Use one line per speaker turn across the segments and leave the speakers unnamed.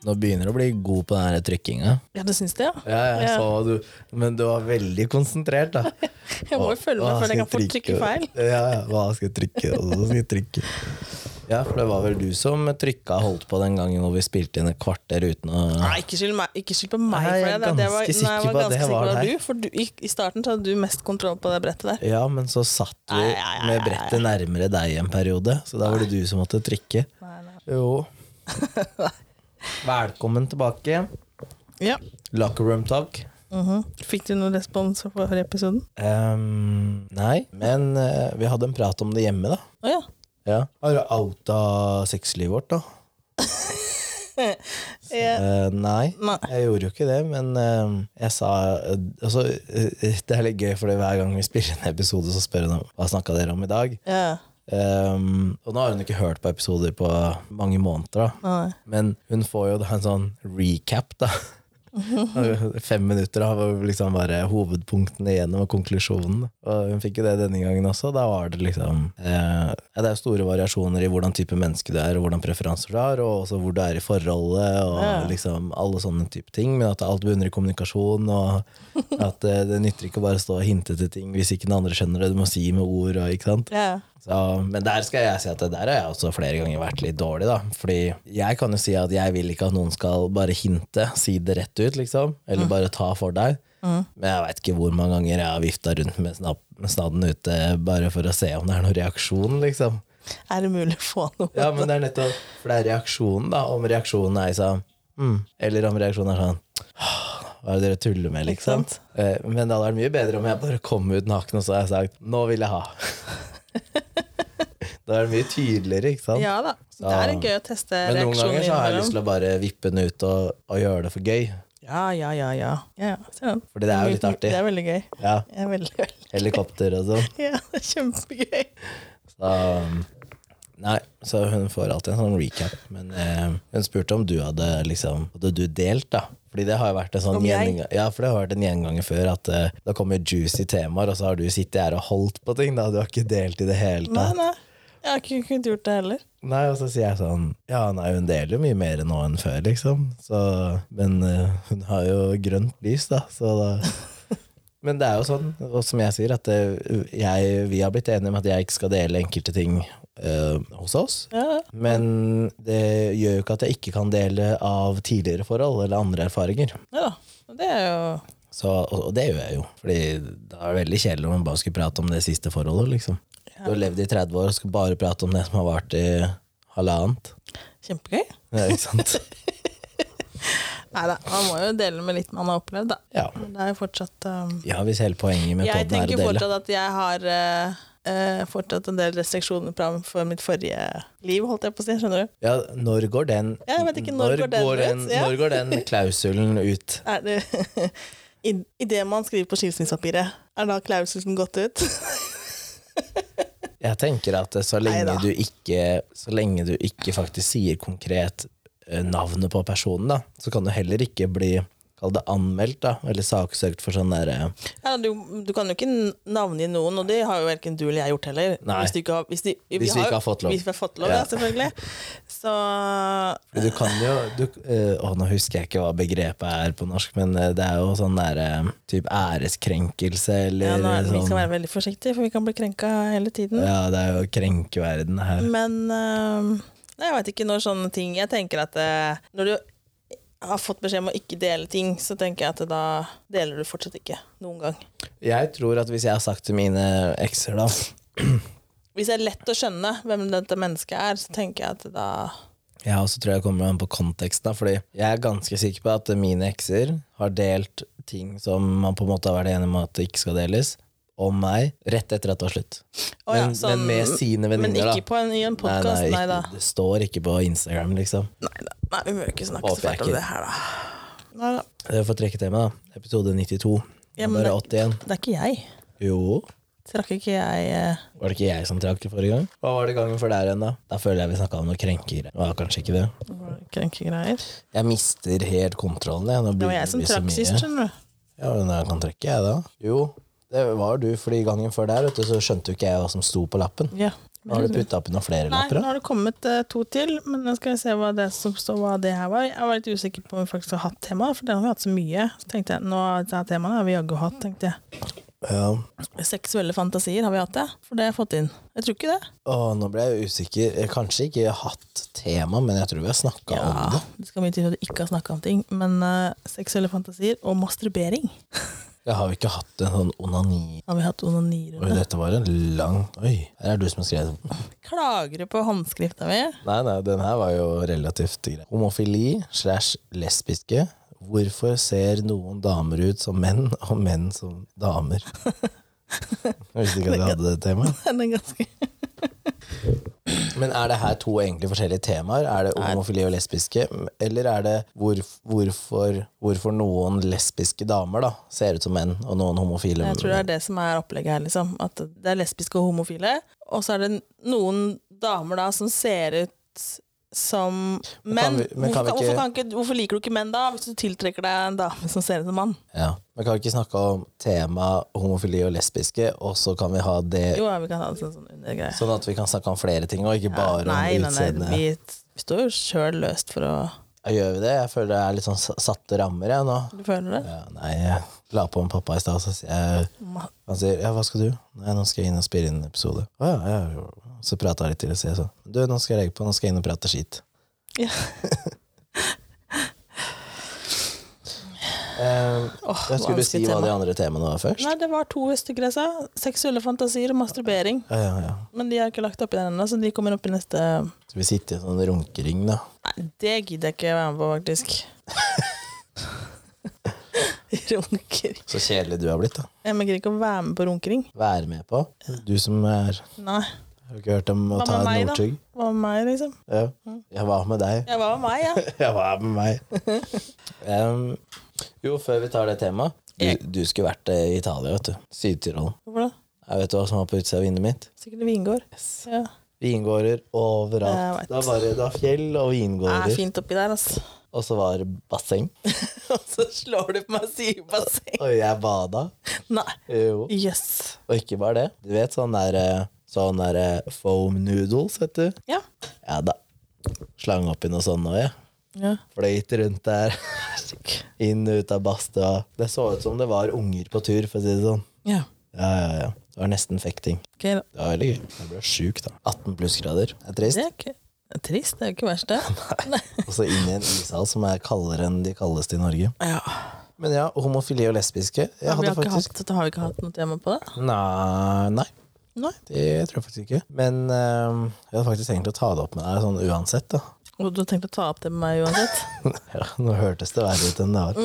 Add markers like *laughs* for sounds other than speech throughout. Nå begynner du å bli god på den her trykkinga.
Ja, du syns det, ja?
Ja, jeg
Ja.
så du, men du var veldig konsentrert, da.
*laughs* Jeg må jo følge med,
Hva
for jeg
skal
kan fort trykke feil.
Ja, ja, hva skal jeg trykke, og så skal jeg trykke. Ja, for det var vel du som trykka og holdt på den gangen hvor vi spilte inn et kvarter uten å
Nei, ikke skyld, meg, ikke skyld på meg
Nei,
for
jeg
det.
er
det- det var,
ganske
nei, jeg
sikker
var
på at
ganske
det
sikker
var
på at
deg.
du, for du, i, i starten så hadde du mest kontroll på det brettet der.
Ja, men så satt du
Nei, nei, nei,
med brettet nærmere deg en periode, så da var det du som måtte trykke.
Nei, nei.
Jo. *laughs* Velkommen tilbake.
Ja.
Locker room talk.
Mhm. Fikk du noen respons på forrige episoden?
Ehm, nei, men eh, vi hadde en prat om det hjemme, da.
Å ja.
Ja. Har du outa sexlivet vårt, da?
Eh,
Eh, nei.
nei.
Jeg gjorde jo ikke det, men eh, jeg sa eh, altså, eh, Det er litt gøy, for hver gang vi spiller en episode, så spør hun om hva snakka dere om i dag.
Ja.
Ehm, og nå har hun ikke hørt på episoder på mange måneder, da.
Nei.
Men hun får jo da en sånn recap, da. Fem minutter av liksom bare hovedpunktene igjennom og konklusjonen. Og hun fikk jo det denne gangen også. Da var det liksom eh, ja, Det er store variasjoner i hvordan type menneske du er, og hvordan preferanser du har, og også hvor du er i forholdet, og
Ja.
liksom alle sånne type ting. Men at alt bunner i kommunikasjon, og at eh, det nytter ikke å bare stå og hinte til ting hvis ikke den andre skjønner det. Du må si med ord og ikke sant.
Ja.
Så, men der skal jeg si at det der har jeg også flere ganger vært litt dårlig, da. Fordi jeg kan jo si at jeg vil ikke at noen skal bare hinte, si det rett ut, liksom. Eller bare ta for deg. Men jeg veit ikke hvor mange ganger jeg har vifta rundt med snap, med snadden ute bare for å se om det er noen reaksjon, liksom.
Er det mulig å få noe?
Ja, men det er nettopp For det er reaksjonen, da. Om reaksjonen er sånn mm. Eller om reaksjonen er sånn «Åh, Hva er det dere tuller med,
Ikke
liksom?
sant?
Eh, Men det hadde vært mye bedre om jeg bare kom ut naken og så hadde jeg sagt 'Nå vil jeg
*laughs*
ha'. det hadde vært mye tydeligere, ikke sant?
Ja da. Det er gøy å teste
Men noen
reaksjonen
ganger så har jeg
innimellom.
lyst til å bare vippe den ut og, og gjøre det for gøy.
Ja, ja, ja. ja. ja, ja. Se den.
Fordi det er jo litt artig.
Det er veldig gøy.
Ja,
Det er veldig, veldig.
Helikopter og sånn.
Ja, *laughs* det er kjempegøy.
Så, um, nei, så hun får alltid en sånn recap. Men eh, hun spurte om du hadde liksom Hadde du delt, da? Fordi det har jo vært en sånn
Om jeg?
gjenga- Ja, for det har vært en gjenganger før at eh, det kommer juicy temaer, og så har du sittet her og holdt på ting. da Du har ikke delt i det hele
Nei,
tatt.
nei. Jeg har ikke kunnet gjort det heller.
Nei, og så sier jeg sånn Ja, nei, hun deler jo mye mer nå enn før, liksom. Så, men eh, hun har jo grønt lys, da, så da *laughs* Men det er jo sånn, og som jeg sier, at eh, jeg, vi har blitt enige om at jeg ikke skal dele enkelte ting eh, hos oss.
Ja, ja.
Men det gjør jo ikke at jeg ikke kan dele av tidligere forhold eller andre erfaringer.
ja da. Det er jo
Så, og, og det gjør jeg jo, Fordi det er veldig kjedelig om man bare skulle prate om det siste forholdet. liksom. Du har levd i 30 år og skal bare prate om det som har vart i halvannet.
kjempegøy.
Ja, ikke sant?
*laughs* Nei da, man må jo dele med litt man har opplevd, da.
Ja.
Men det er jo fortsatt um,
ja, hvis hele poenget med podden
Jeg
er
tenker
å dele.
fortsatt at jeg har eh, eh, fortsatt en del restriksjoner framfor mitt forrige liv, holdt jeg på å si. Skjønner du?
Ja, når går den
Ja, jeg vet ikke, når går den ut? Ja.
Når går
*laughs*
den klausulen ut?
Er det *laughs* I- Idet man skriver på skilsmissepapiret, er da klausulen gått ut?
Jeg tenker at så lenge,
Neida.
du ikke, så lenge du ikke faktisk sier konkret eh, navnet på personen, da, så kan du heller ikke bli kall det anmeldt da, eller saksøkt for sånn derre
*laughs* Ja, du, du kan jo ikke n- navngi noen, og det har jo verken du eller jeg gjort heller.
Nei.
Hvis, du ikke har, hvis, de, vi,
Hvis vi
har,
ikke har fått lov.
Hvis vi har fått lov,
Ja.
ja, selvfølgelig. Så
Du kan jo du, eh, Å, nå husker jeg ikke hva begrepet er på norsk, men eh, det er jo sånn derre typ æreskrenkelse
ja,
eller
nå, er- liksom- vi skal
sånn
være veldig forsiktige, for vi kan bli krenka hele tiden.
Ja, det er jo krenkeverdenen her.
Men øhm, nei, jeg veit ikke når sånne ting Jeg tenker at eh, når du har fått beskjed om å ikke dele ting, så tenker jeg at da deler du fortsatt ikke. Noen gang.
Jeg tror at hvis jeg har sagt til mine ekser da
Hvis det er lett å skjønne hvem dette mennesket er, så tenker jeg at da
Jeg også tror jeg kommer an på konteksten da, Fordi jeg er ganske sikker på at mine ekser Har delt ting som man på en måte har vært enig om at det ikke skal deles Om meg, rett etter at det var slutt
Å ja,
men,
sånn-
men med sine
Men
venninner da
ikke på en, i en
Nei,
podkast,
nei,
nei, da.
ikke, det står ikke på Instagram liksom
Nei da. Nei, vi må jo ikke snakke
Håper
så
jeg
fælt om
ikke.
det her, da. Nei da.
Jeg får Eh, trekke til meg da Episode 92
Ja, men
Bare 81
Det er ikke jeg.
Jo,
Trakk ikke jeg eh,
var det ikke jeg som trakk det forrige gang? Hva var det gangen før der igjen da? Da føler jeg vi snakket om noen krenker Det var kanskje ikke det
krenkegreier?
Jeg mister helt kontrollen jeg. Nå
Det var
begynner
jeg som
bli så
trakk
mye.
sist, skjønner du.
Ja, men jeg kan trekke, jeg da. Jo, det var du, fordi gangen før der, vet du, så skjønte jo ikke jeg hva som sto på lappen.
Ja.
Nå har du putta oppi noen flere
Nei,
lapper?
nå
da?
har det kommet eh, to til, men nå skal vi se hva det som står hva det her var. Jeg var litt usikker på om vi faktisk har hatt tema, for den har vi hatt så mye. Så tenkte jeg, nå har dette temaet har vi jaggu hatt, tenkte jeg.
Ja.
Seksuelle fantasier, har vi hatt det? For det har jeg fått inn. Jeg tror ikke det.
Å, nå ble jeg usikker. Jeg har Kanskje ikke hatt tema, men jeg tror vi har snakka om det.
det skal mye til at du ikke har snakka om ting, men eh, seksuelle fantasier og masturbering
Jeg har jo ikke hatt en sånn onani
har vi hatt
Oi,
onanirunde.
dette var en lang Oi, her er du som har skrevet den.
Klager du på håndskrifta mi?
Nei, nei, den her var jo relativt grei. Homofili slash lesbiske. Hvorfor ser noen damer ut som menn, og menn som
*laughs*
damer? Jeg visste ikke at vi hadde det temaet.
*laughs* Den er ganske
Men er det her to egentlig forskjellige temaer? Er det homofili og lesbiske? Eller er det hvor, hvorfor, hvorfor noen lesbiske damer da ser ut som menn, og noen homofile
Jeg tror det er det som er opplegget her, liksom. At det er lesbiske og homofile. Og så er det noen damer da som ser ut som menn.
vi- men kan
hvorfor,
vi
hvorfor,
ikke-
kan ikke, hvorfor liker du ikke menn da, hvis du tiltrekker deg en dame som ser ut som mann?
Ja. Men kan vi ikke snakke om tema homofili og lesbiske, og så kan vi ha det
Jo, ja, vi kan ha en sånn, sånn undergreie.
Sånn at vi kan snakke om flere ting, og ikke bare om
Nei, nei, nei,
utseendet.
vi, vi står jo sjøl løst for å
Ja, Gjør vi det? Jeg føler jeg er litt sånn s- satte rammer, jeg nå.
Du føler det?
Ja, nei, jeg la på med pappa i stad, så sier jeg
Ma-
Han sier ja, hva skal du? Nei, nå skal jeg inn og spille inn en episode. Å, ja, ja. ja. Så prata jeg litt til og sier sånn Du, nå skal jeg legge på, nå skal jeg inn og prate skit.
Ja.
*laughs* Eh,
Åh,
jeg skulle
vanskelig
beskrive hva
tema.
de andre temaene var først.
Nei, det var to stykker jeg sa. Seksuelle fantasier og masturbering.
Ja, ja, ja.
Men de har ikke lagt oppi den ennå, så de kommer opp i neste
Så vi sitter i en sånn runkering, da.
Nei, det gidder jeg ikke være med på, faktisk. *laughs* Runkering.
Så kjedelig du har blitt, da.
Jeg mener ikke å være med på runkering.
Være med på. Du som er
Nei.
Har du ikke hørt om å
Hva
ta
med
en
meg, da?
Northug?
Hva med meg, liksom?
Ja. Jeg var med deg.
Ja, hva med meg, ja?
Jeg var med meg. *laughs* Em, jo, før vi tar det temaet du, du skulle vært eh, i Italia, vet du. Syd-Tyrol.
Hvorfor det?
Jeg vet du hva som var på utsida av vinduet mitt?
Sikkert Vingård. Ja.
Vingårder overalt.
Jeg vet.
Det var, bare, det var fjell og
Det er
vingårder.
fint oppi der, altså.
Og så var det basseng.
*laughs* Og så slår du på meg og sier basseng.
Og jeg bada.
Nei.
Jo.
Jøss.
Og ikke bare det. Du vet sånn der, eh, sånn der eh, foam noodles, vet du.
Ja.
Ja da. Slang oppi noe sånt òg, jeg.
ja.
Fløyt rundt der. *laughs* Inn og ut av badstua. Det så ut som det var unger på tur, for å si det sånn.
Ja.
Ja, ja, ja. Det var nesten fekting.
Ok, da.
Det var veldig gøy. Jeg ble sjuk, da. 18 plussgrader. Det er
Det
trist.
er ikke det er trist. Det er jo ikke verst, det. Nei.
Og så inn i en ishall som er kaldere enn de kaldeste i Norge.
*laughs* Ja.
Men ja, homofili og lesbiske. Jeg
Vi
hadde
har, ikke
faktisk
hatt, har vi ikke hatt noe tema på det?
Nei, nei,
Nei.
det tror jeg faktisk ikke. Men eh, jeg hadde faktisk tenkt å ta det opp med deg sånn uansett, da. *laughs*
Og du har tenkt å ta opp det med meg uansett?
Ja, nå hørtes det verre ut enn det var.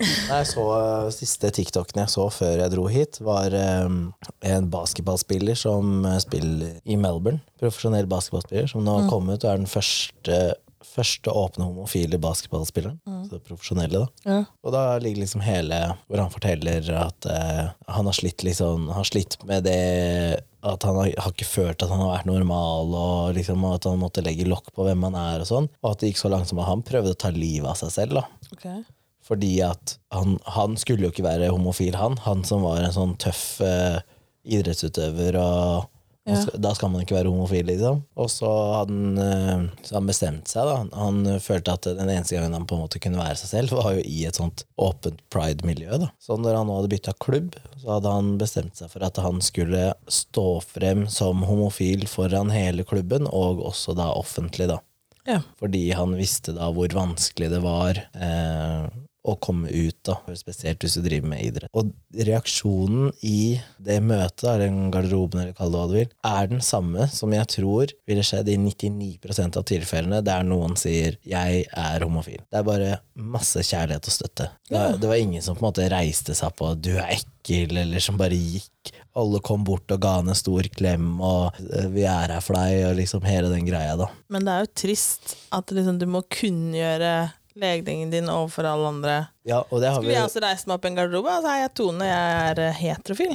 Nei, jeg så eh, Siste TikToken jeg så før jeg dro hit, var eh, en basketballspiller som eh, spiller i Melbourne. Profesjonell basketballspiller som nå kom ut og er den første, første åpne homofile basketballspilleren. Så profesjonelle, da.
Ja.
Og da ligger liksom hele hvor han forteller at eh, han har slitt liksom Har slitt med det at han har, har ikke følt at han har vært normal, og liksom at han måtte legge lokk på hvem han er, og sånn. Og at det gikk så langt som at han prøvde å ta livet av seg selv. da
*laughs* Ok.
Fordi at han, han skulle jo ikke være homofil, han. Han som var en sånn tøff eh, idrettsutøver og og
Ja.
så- Da skal man ikke være homofil, liksom. Og så hadde han, eh, så han bestemt seg, da. Han eh, følte at den eneste gangen han på en måte kunne være seg selv, var jo i et sånt åpent pride-miljø, da. Så når han nå hadde bytta klubb, så hadde han bestemt seg for at han skulle stå frem som homofil foran hele klubben, og også da offentlig, da.
Ja.
Fordi han visste da hvor vanskelig det var eh, å komme ut, da. spesielt hvis du driver med idrett. Og reaksjonen i det møtet, eller den garderoben, eller kall det hva du vil, er den samme som jeg tror ville skjedd i 99 av tilfellene der noen sier 'jeg er homofil'. Det er bare masse kjærlighet og støtte. Det var, det var ingen som på en måte reiste seg på 'du er ekkel', eller som bare gikk. Alle kom bort og ga han en stor klem, og eh, 'vi er her for deg', og liksom hele den greia, da.
Men det er jo trist at liksom, du må kunngjøre legningen din overfor alle andre.
Ja, og det har
Skulle jeg også reist meg opp i en garderobe? Altså, hei, jeg er Tone, jeg er eh, heterofil.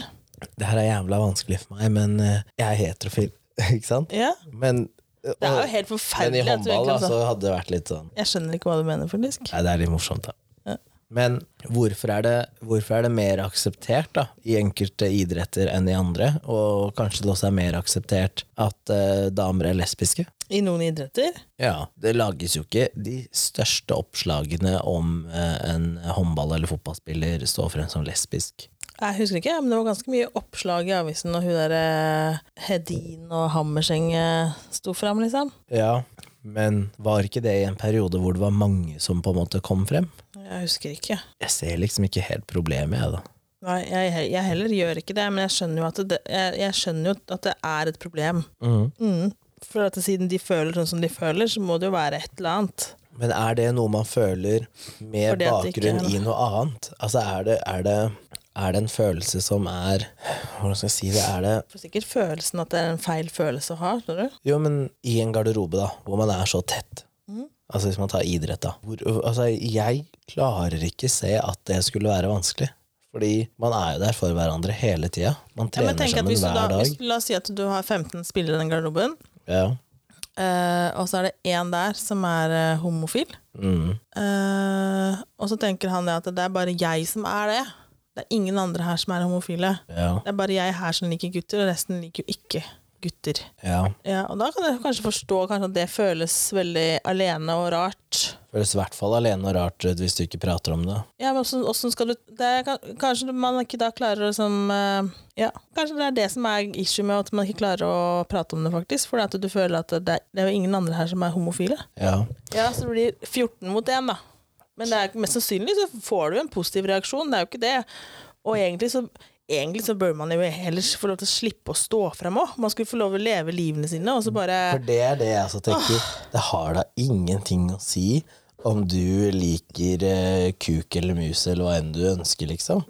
Det her er jævla vanskelig for meg, men eh, jeg er heterofil. *laughs* Ikke sant?
Ja.
Men, eh, og,
Det er jo helt
men i
forferdelig. at du
håndball altså.
egentlig-
da, så hadde det vært litt sånn
Jeg skjønner ikke hva du mener, faktisk.
Nei, det er litt morsomt, da.
Ja.
Men hvorfor er, det, hvorfor er det mer akseptert da, i enkelte idretter enn i andre? Og kanskje det også er mer akseptert at eh, damer er lesbiske?
I noen idretter.
Ja, Det lages jo ikke de største oppslagene om eh, en håndball- eller fotballspiller står frem som lesbisk.
Jeg husker ikke, men det var ganske mye oppslag i avisen når hun der eh, Hedin og Hammerseng eh, sto fram, liksom.
Ja, Men var ikke det i en periode hvor det var mange som på en måte kom frem?
Jeg husker ikke.
Jeg ser liksom ikke helt problemet, jeg, da.
Nei, jeg, he- jeg heller gjør ikke det, men jeg skjønner jo at det, jeg, jeg skjønner jo at det er et problem. Mm. For at siden de føler sånn som de føler, så må det jo være et eller annet.
Men er det noe man føler med
Fordi at det ikke er
bakgrunn
noe-
i noe annet? Altså, er det, er det er det en følelse som er Hvordan skal jeg si det? Er det
For sikkert følelsen at det er en feil følelse å ha, skjønner du?
Jo, men i en garderobe, da, hvor man er så tett.
Mm.
Altså Hvis man tar idrett, da. Hvor, altså, jeg klarer ikke se at det skulle være vanskelig. Fordi man er jo der for hverandre hele tida. Man
Ja, men
trener
tenk at
sammen
hvis du
hver
da,
dag.
hvis, la oss si at du har 15 spillere i den garderoben,
Ja.
eh, og så er det én der som er eh, homofil.
Mm.
Eh, og så tenker han det at det er bare jeg som er det. Det er ingen andre her som er homofile.
ja,
Det er bare jeg her som liker gutter, og resten liker jo ikke gutter.
ja.
Ja, og da kan jeg kanskje forstå kanskje at det føles veldig alene og rart.
Føles i hvert fall alene og rart ut hvis du ikke prater om det.
Ja, men hvordan, hvordan skal du det er, kan- Kanskje man ikke da klarer å liksom eh, Ja, kanskje det er det som er issue med at man ikke klarer å prate om det, faktisk. Fordi at du føler at det er, det er jo ingen andre her som er homofile.
Ja.
Ja, så det blir 14 mot 1, da. Men det er, mest sannsynlig så får du en positiv reaksjon, det er jo ikke det. Og egentlig så, egentlig så bør man jo ellers få lov til å slippe å stå frem òg. Man skulle få lov til å leve livene sine, og så bare
For det er det jeg altså tenker. Det har da ingenting å si om du liker eh, kuk eller mus eller hva enn du ønsker, liksom.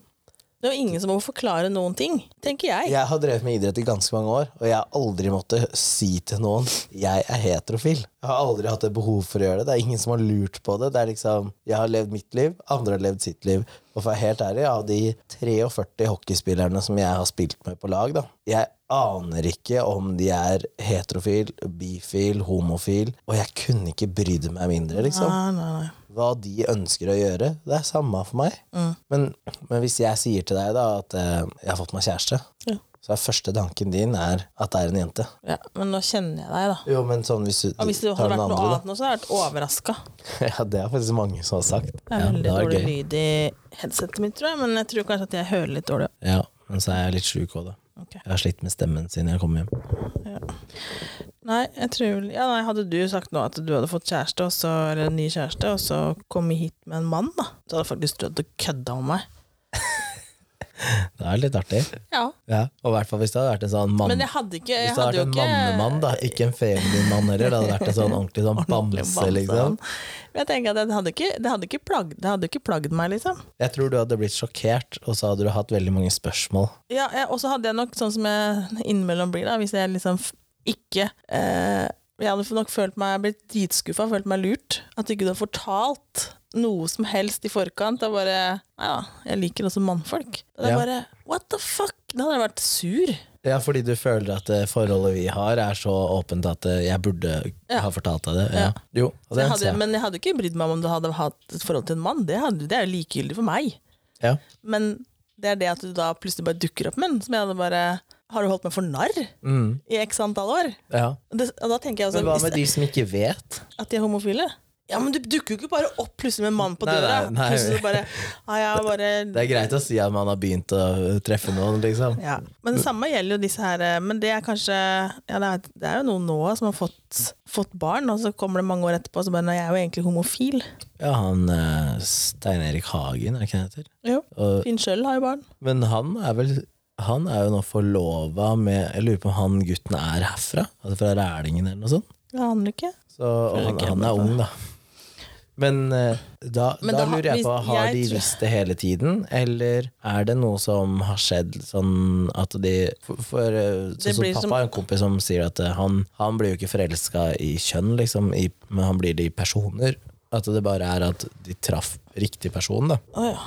Det er jo ingen som må forklare noen ting, tenker jeg.
Jeg har drevet med idrett i ganske mange år, og jeg har aldri måttet si til noen jeg er heterofil. Jeg har aldri hatt et behov for å gjøre det. Det er ingen som har lurt på det. Det er liksom, Jeg har levd mitt liv, andre har levd sitt liv. Og for å være helt ærlig, av de 43 hockeyspillerne som jeg har spilt med på lag, da, jeg aner ikke om de er heterofil, bifil, homofil, og jeg kunne ikke brydd meg mindre, liksom
Nei, nei, nei.
hva de ønsker å gjøre, det er samme for meg.
Mm.
Men, men hvis jeg sier til deg da at eh, jeg har fått meg kjæreste,
Ja.
så er første tanken din er at det er en jente.
Ja, men nå kjenner jeg deg, da.
Jo, men sånn hvis du
Og hvis det hadde vært noe annet nå, så hadde jeg vært overraska.
da. *laughs* Ja, det er faktisk mange som har sagt.
Det er
Ja,
veldig
det var
dårlig
gøy.
lyd i headsetet mitt, tror jeg, men jeg tror kanskje at jeg hører litt dårlig.
Ja, men så er jeg litt sjuk òg, da.
Ok.
Jeg har slitt med stemmen siden jeg kom hjem.
Nei, jeg tror vel- ja, nei, Hadde du sagt nå at du hadde fått kjæreste, og så, eller en ny kjæreste, og så kom hit med en mann, da, så hadde jeg faktisk trodd du kødda om meg.
Det er litt artig.
Ja.
Ja. Og i hvert fall hvis det hadde vært en sånn mann...
Men jeg hadde ikke jeg
Hvis det hadde
hadde jo
vært en
ikke- *laughs*
mannemann, da, ikke en feminin mann heller, det hadde vært en sånn ordentlig sånn bamse, liksom.
Bamsemann. Men jeg tenker at det hadde ikke, det hadde ikke, plagd, det hadde ikke plagd meg, liksom.
Jeg tror du hadde blitt sjokkert, og så hadde du hatt veldig mange spørsmål.
Ja, jeg- Og så hadde jeg nok, sånn som jeg innimellom blir, da, hvis jeg liksom f- ikke eh, Jeg hadde nok følt meg blitt dritskuffa, følt meg lurt. At ikke du har fortalt noe som helst i forkant. Det er bare Nei da, jeg liker også mannfolk. Det er
Ja.
bare What the fuck? Da hadde jeg vært sur.
Ja, fordi du føler at det forholdet vi har er så åpent at eh, jeg burde
Ja.
ha fortalt deg det. Ja.
Ja.
Jo, og
Jeg
den
hadde,
ser jeg.
men jeg hadde ikke brydd meg om du hadde hatt et forhold til en mann. Det, hadde, det er jo likegyldig for meg.
Ja.
Men det er det at du da plutselig bare dukker opp med en som jeg hadde bare Har du holdt meg for narr
Mm,
i x antall år?
ja.
Og, det, og da tenker jeg altså,
Men hva
hvis-
med de som ikke vet?
At de er homofile? Ja, men du dukker jo ikke bare opp plutselig med en mann på
Nei,
døra.
nei, nei.
Plutselig så bare, «Ah, ja, jeg er bare
Det er greit å si at man har begynt å eh, treffe noen, liksom.
ja. Men det samme gjelder jo disse her eh, Men det er kanskje ja, det, er, det er jo noen nå som har fått, fått barn, og så kommer det mange år etterpå og så bare Nei, jeg er jo egentlig homofil.
Ja, han eh, Stein Erik Hagen, er det ikke han heter?
Jo.
Og-
Finn sjøl har jo barn.
Men han er vel han er jo nå forlova med Jeg lurer på om han gutten er herfra? Altså fra Rælingen eller noe sånt?
Det aner du ikke.
Så, og han,
Rælingen,
han er ung, da. Men eh, da,
Men
da
da-
lurer jeg
hvis-
på, har
jeg
de
tror-
visst det hele tiden? Eller er det noe som har skjedd sånn at de For, for eh, sånn
Det
som
blir
pappa
som-
har en kompis som sier at eh, han, han blir jo ikke forelska i kjønn, liksom, i, men han blir det i personer. At det bare er at de traff riktig person, da,
Å ja.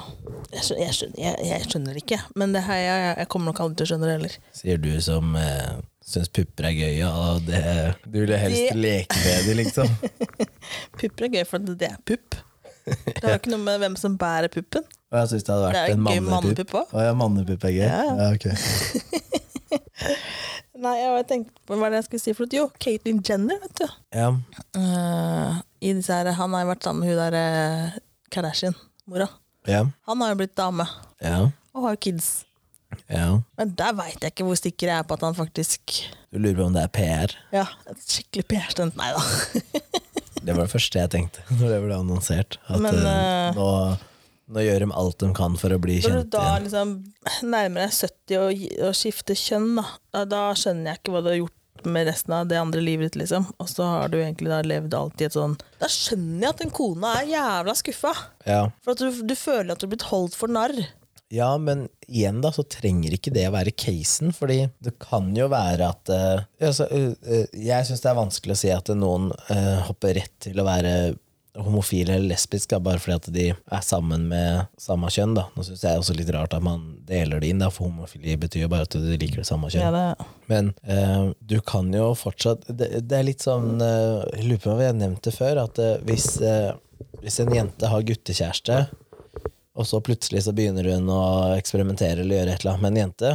Jeg skjønner, jeg, skjønner, jeg, jeg skjønner ikke. Men det her, jeg, jeg kommer nok aldri til å skjønne det heller.
sier du som eh, syns pupper er gøy, og det, du vil helst
Det- *laughs*
leke med dem, liksom. *laughs*
Pupper er gøy, for det er pupp. Det har jo ikke noe med hvem som bærer puppen.
Og jeg syns det hadde
Det
vært en
er en gøy
mannepupp.
mannepupp òg.
Å ja, mannepupp er gøy?
Ja.
Ja, ok.
Nei, jeg tenkte på hva er det jeg skulle si for noe. Jo, Caitlyn Jenner, vet du.
Ja.
Eh, I disse her, han har jo vært sammen med hun der eh, Kardashian-mora.
Ja.
Han har jo blitt dame
ja,
og har kids.
ja.
Men der veit jeg ikke hvor sikker jeg er på at han faktisk
Du lurer på om det er PR?
Ja, et skikkelig PR-stunt. Nei da.
Det var det første jeg tenkte *laughs* når det ble annonsert. At
Men,
eh, nå, nå gjør de alt de kan for å bli
Når du
kjent
da
igjen.
liksom nærmer deg 70 og, gi- og skifter kjønn, da, da, da skjønner jeg ikke hva du har gjort med resten av det andre livet ditt, liksom. Og så har du egentlig da levd alltid et sånn Da skjønner jeg at den kona er jævla skuffa.
Ja.
For at du, du føler at du har blitt holdt for narr.
ja, men igjen da, så trenger ikke det å være casen, fordi det kan jo være at eh, altså, eh, eh, Jeg syns det er vanskelig å si at noen eh, hopper rett til å være homofile eller lesbiske da, bare fordi at de er sammen med samme kjønn. da. Nå syns jeg også litt rart at man deler det inn, da, for homofili betyr jo bare at du liker det samme kjønn. Men eh, du kan jo fortsatt Det, det er litt sånn eh, Jeg lurer på om jeg har nevnt det før, at eh, hvis, eh, hvis en jente har guttekjæreste, og så plutselig så begynner hun å eksperimentere eller gjøre et eller annet med en jente,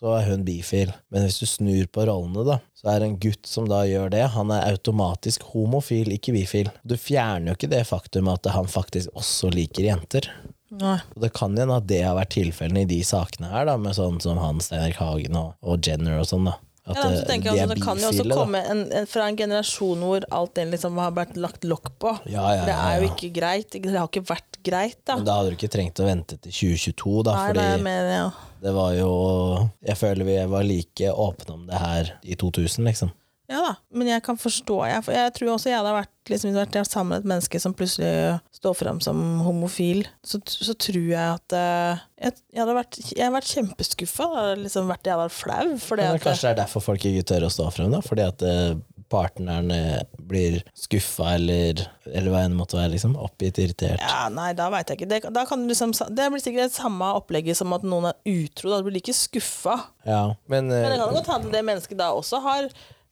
så er hun bifil. Men hvis du snur på rollene, da, så er en gutt som da gjør det, han er automatisk homofil, ikke bifil. Du fjerner jo ikke det faktum at han faktisk også liker jenter.
Nei.
Og det kan hende at det har vært tilfellene i de sakene her, da, med sånn som han, Steinar Hagen og, og Jenner og sånn. da. At
Ja, men så
eh,
tenker jeg også, det kan jo også komme en, en, fra en generasjon hvor alt det liksom har vært lagt lokk på.
Ja, ja, ja,
Det er jo
ja.
ikke greit. ikke- Det har ikke vært greit, da.
Men da hadde du ikke trengt å vente til 2022, da,
Nei, det er
fordi
mer, ja.
det var jo Jeg føler vi var like åpne om det her i 2000, liksom.
ja da, men jeg kan forstå. Jeg, for jeg tror også jeg hadde vært, liksom, hvis jeg hadde vært sammen med et menneske som plutselig står fram som homofil. Så, så tror jeg at eh, jeg, jeg hadde vært, jeg hadde vært kjempeskuffa. Det hadde liksom vært jeg hadde vært flau. Fordi
Men
at, eh,
kanskje det er derfor folk ikke tør å stå frem, da? Fordi at eh, partnerne blir skuffa eller, eller hva enn det måtte være, liksom. Oppgitt, irritert.
Ja, nei, da veit jeg ikke. Det, da kan du liksom, det blir sikkert det samme opplegget som at noen er utro. Da Du blir like skuffa.
Ja, men, eh,
Men det kan godt hende det mennesket da også har,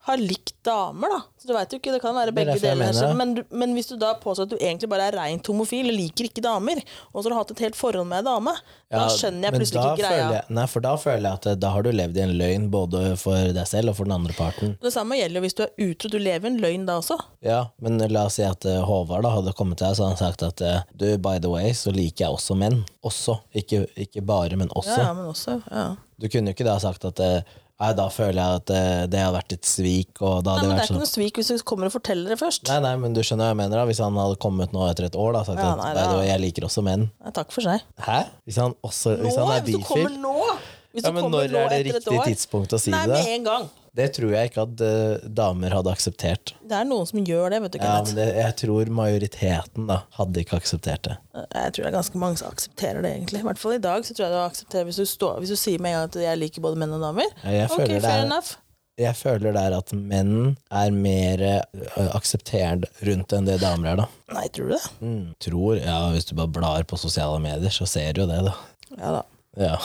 har likt damer, da. Så du vet jo ikke, det kan være
er
begge
derfor jeg
deler.
mener det.
men, du, men hvis du da påstår at du egentlig bare er rent homofil og liker ikke damer, og så har du hatt et helt forhold med ei dame, da
Ja,
skjønner jeg
men
plutselig
da
ikke greia.
føler Jeg, nei, for da føler jeg at eh, da har du levd i en løgn både for deg selv og for den andre parten.
Det samme gjelder jo hvis du er utro. Du lever en løgn da også.
Ja, men la oss si at eh, Håvard da hadde kommet til deg så hadde han sagt at eh, du, by the way, så liker jeg også menn. Også. Ikke, ikke bare, men også.
Ja, ja, men også, ja.
Du kunne jo ikke da sagt at eh, nei, da føler jeg at eh, det har vært et svik, og da hadde det
Nei, men det er
vært
ikke
sånn
noe svik hvis du kommer og forteller det først.
Nei, nei, men du skjønner hva jeg mener da Hvis han hadde kommet nå etter et år da sagt
Ja,
at
nei,
by
da-
the way, jeg liker også menn.
Nei, takk for seg.
Hæ? Hvis han, også,
Nå,
hvis han er
hvis du kommer
bifil?
nå! Hvis
Ja,
du
men
kommer
når
nå
er det
etter et
riktig
år-
tidspunkt å si
Nei,
det?
med en gang.
Det tror jeg ikke at eh, damer hadde akseptert.
Det er noen som gjør det, vet du,
Ja,
Kenneth.
men det, jeg tror majoriteten da hadde ikke akseptert det.
Jeg tror det er ganske mange som aksepterer det, egentlig. I hvert fall i dag så tror jeg du aksepterer hvis du, står, hvis du sier med en gang at jeg liker både menn og damer.
Ja, jeg
ok,
føler det
fair
er-
enough.
Jeg føler der at menn er mer eh, aksepterende rundt enn det damer er, da.
Nei, tror du det?
Mm, tror, ja, Hvis du bare blar på sosiale medier, så ser du jo det, da.
Ja da.
Ja.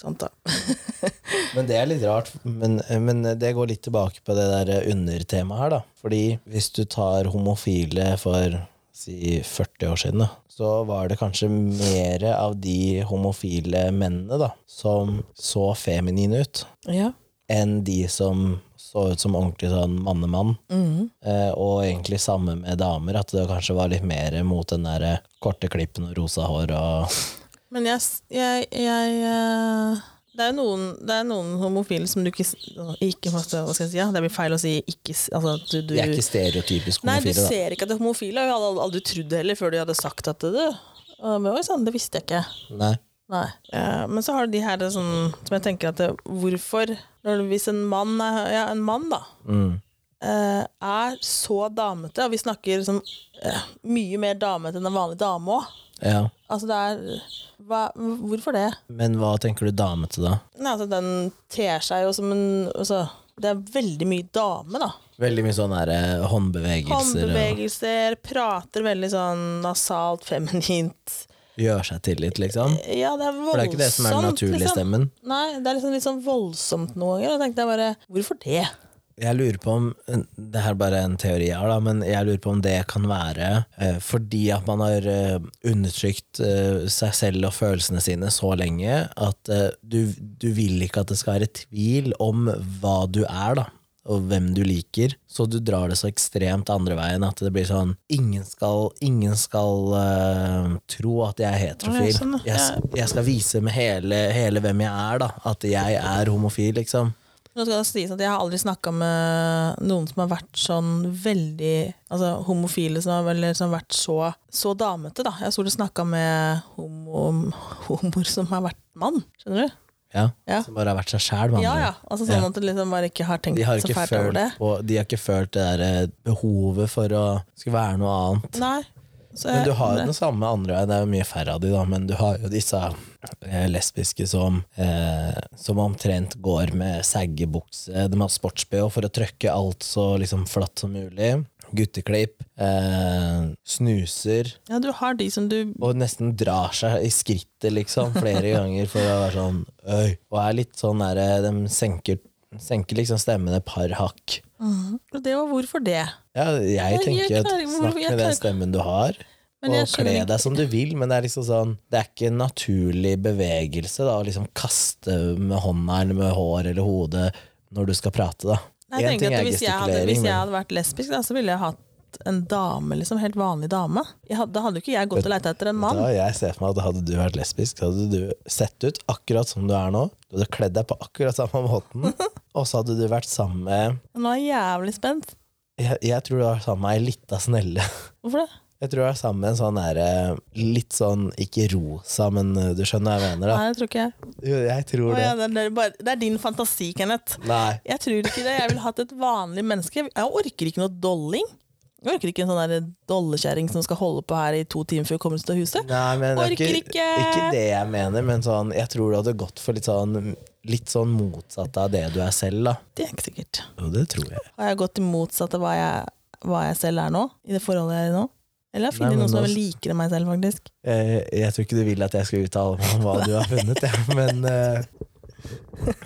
Sant, da.
Men det er litt rart. Men, men det går litt tilbake på det der undertemaet her, da. Fordi hvis du tar homofile for si 40 år siden, da, så var det kanskje mer av de homofile mennene da, som så feminine ut.
Ja.
enn de som så ut som ordentlig sånn mannemann.
Mhm.
Eh, og egentlig samme med damer, at det kanskje var litt mer mot den der eh, korte klippen og rosa hår og
Men jeg, s- jeg, jeg eh, det er jo noen, det er noen homofile som du ikke, s- ikke Hva skal jeg si? Ja, det blir feil å si ikke s- altså, at du, du,
De er ikke stereotypisk
Nei, du
homofile, da.
ser ikke at det er homofile. Jeg hadde al- aldri trodd det heller før du hadde sagt at det. du. Og det var jo sånn, det visste jeg ikke.
Nei.
Nei. Eh, men så har du de her sånn, som jeg tenker at det, hvorfor når, Hvis en mann, er, ja, en mann da,
Mm.
eh, er så damete, og vi snakker liksom, eh, mye mer damete enn en vanlig dame òg
Ja.
altså det er, hva, Hvorfor det?
Men hva tenker du dame til, da?
Nei, altså Den ter seg jo som en altså, Det er veldig mye dame, da.
Veldig mye sånne der, eh, håndbevegelser
Håndbevegelser, prater veldig sånn nasalt, feminint.
og gjør seg til litt, liksom.
Ja, det er voldsomt.
For det er ikke det som er den naturlige
liksom.
stemmen.
Nei, det er liksom litt sånn voldsomt noen ganger. Og jeg tenkte jeg bare, hvorfor det?
Jeg lurer på om Det her er bare en teori jeg har, da, men jeg lurer på om det kan være eh, fordi at man har eh, undertrykt eh, seg selv og følelsene sine så lenge at eh, du, du vil ikke at det skal være tvil om hva du er, da. Og hvem du liker. Så du drar det så ekstremt andre veien at det blir sånn Ingen skal, ingen skal eh, tro at jeg er
Ja,
heterofil.
sånn, ja.
Jeg, s- jeg skal vise med hele, hele hvem jeg er, da. At jeg er homofil, liksom.
Nå skal det sies at Jeg har aldri snakka med noen som har vært sånn veldig Altså homofile som har vel, som har vært så, så damete, da. Jeg har stort snakka med homo, homoer som har vært mann. Skjønner du?
Ja.
Ja.
Som bare har vært seg sjæl,
Ja, ja. Altså Sånn at du liksom bare ikke har tenkt
De har
så
ikke,
fælt over
følt
det.
på, de har ikke følt det der eh, behovet for å skulle være noe annet.
Nei. Så
Men du
jeg-
har jo den samme andre veien, det er jo mye færre av de da, men du har jo disse eh, lesbiske som, eh, som omtrent går med saggebukse, de har sports-BH for å trøkke alt så liksom flatt som mulig, gutteklipp, eh, snuser,
Ja, du har de som du
og nesten drar seg i skrittet liksom flere ganger for å være sånn Øy. Og er litt sånn der eh, De senker, senker liksom stemmen et par hakk. Mhm.
Og Det var hvorfor det.
Ja, jeg
jeg
tenker at
klarer ikke- hvorfor-
snakk
jeg
med den
klarer-
stemmen du har,
Men jeg
og
skjønner
kle
ikke-
deg som du vil, men det er liksom sånn Det er ikke en naturlig bevegelse da, å liksom kaste med hånda eller med hår eller hodet når du skal prate, da.
Nei,
En
jeg tenker
ting
at
er
hvis jeg, hadde,
gestikulering,
hvis jeg
men
hadde vært lesbisk, da, så ville jeg hatt en dame, liksom. Helt vanlig dame. Jeg hadde, da hadde jo ikke jeg gått og leita etter en mann.
da jeg ser for meg at hadde du vært lesbisk, så hadde du sett ut akkurat som du er nå. Du hadde kledd deg på akkurat samme måten,
*laughs*
og så hadde du vært sammen med
Nå er jeg jævlig spent.
Jeg, jeg tror du var sammen med ei lita snelle. *laughs*
Hvorfor det?
Jeg tror du var sammen med en sånn derre litt sånn, ikke rosa, men eh, du skjønner hva jeg mener, da.
Nei, det tror ikke jeg.
Jo, jeg tror
Å,
det.
ja, det, er bare, det er din fantasi, Kenneth.
Nei.
Jeg tror ikke det. Jeg ville hatt et vanlig menneske. Jeg orker ikke noe dolling. Jeg orker ikke en sånn der dollekjerring som skal holde på her i to timer før vi kommer oss til huset.
Nei, men det er
Orker ikke.
ikke det jeg mener, men sånn, jeg tror du hadde gått for litt sånn, litt sånn motsatt av det du er selv, da.
Det er ikke sikkert.
Jo, det tror jeg.
Har jeg gått imotsatt av hva jeg, hva jeg selv er nå? I det forholdet jeg er i nå? Eller har jeg
Nei,
funnet
men
noen som
nå-
er likere enn meg selv, faktisk?
Eh, jeg tror ikke du vil at jeg skal uttale meg om hva du har funnet, jeg, men eh,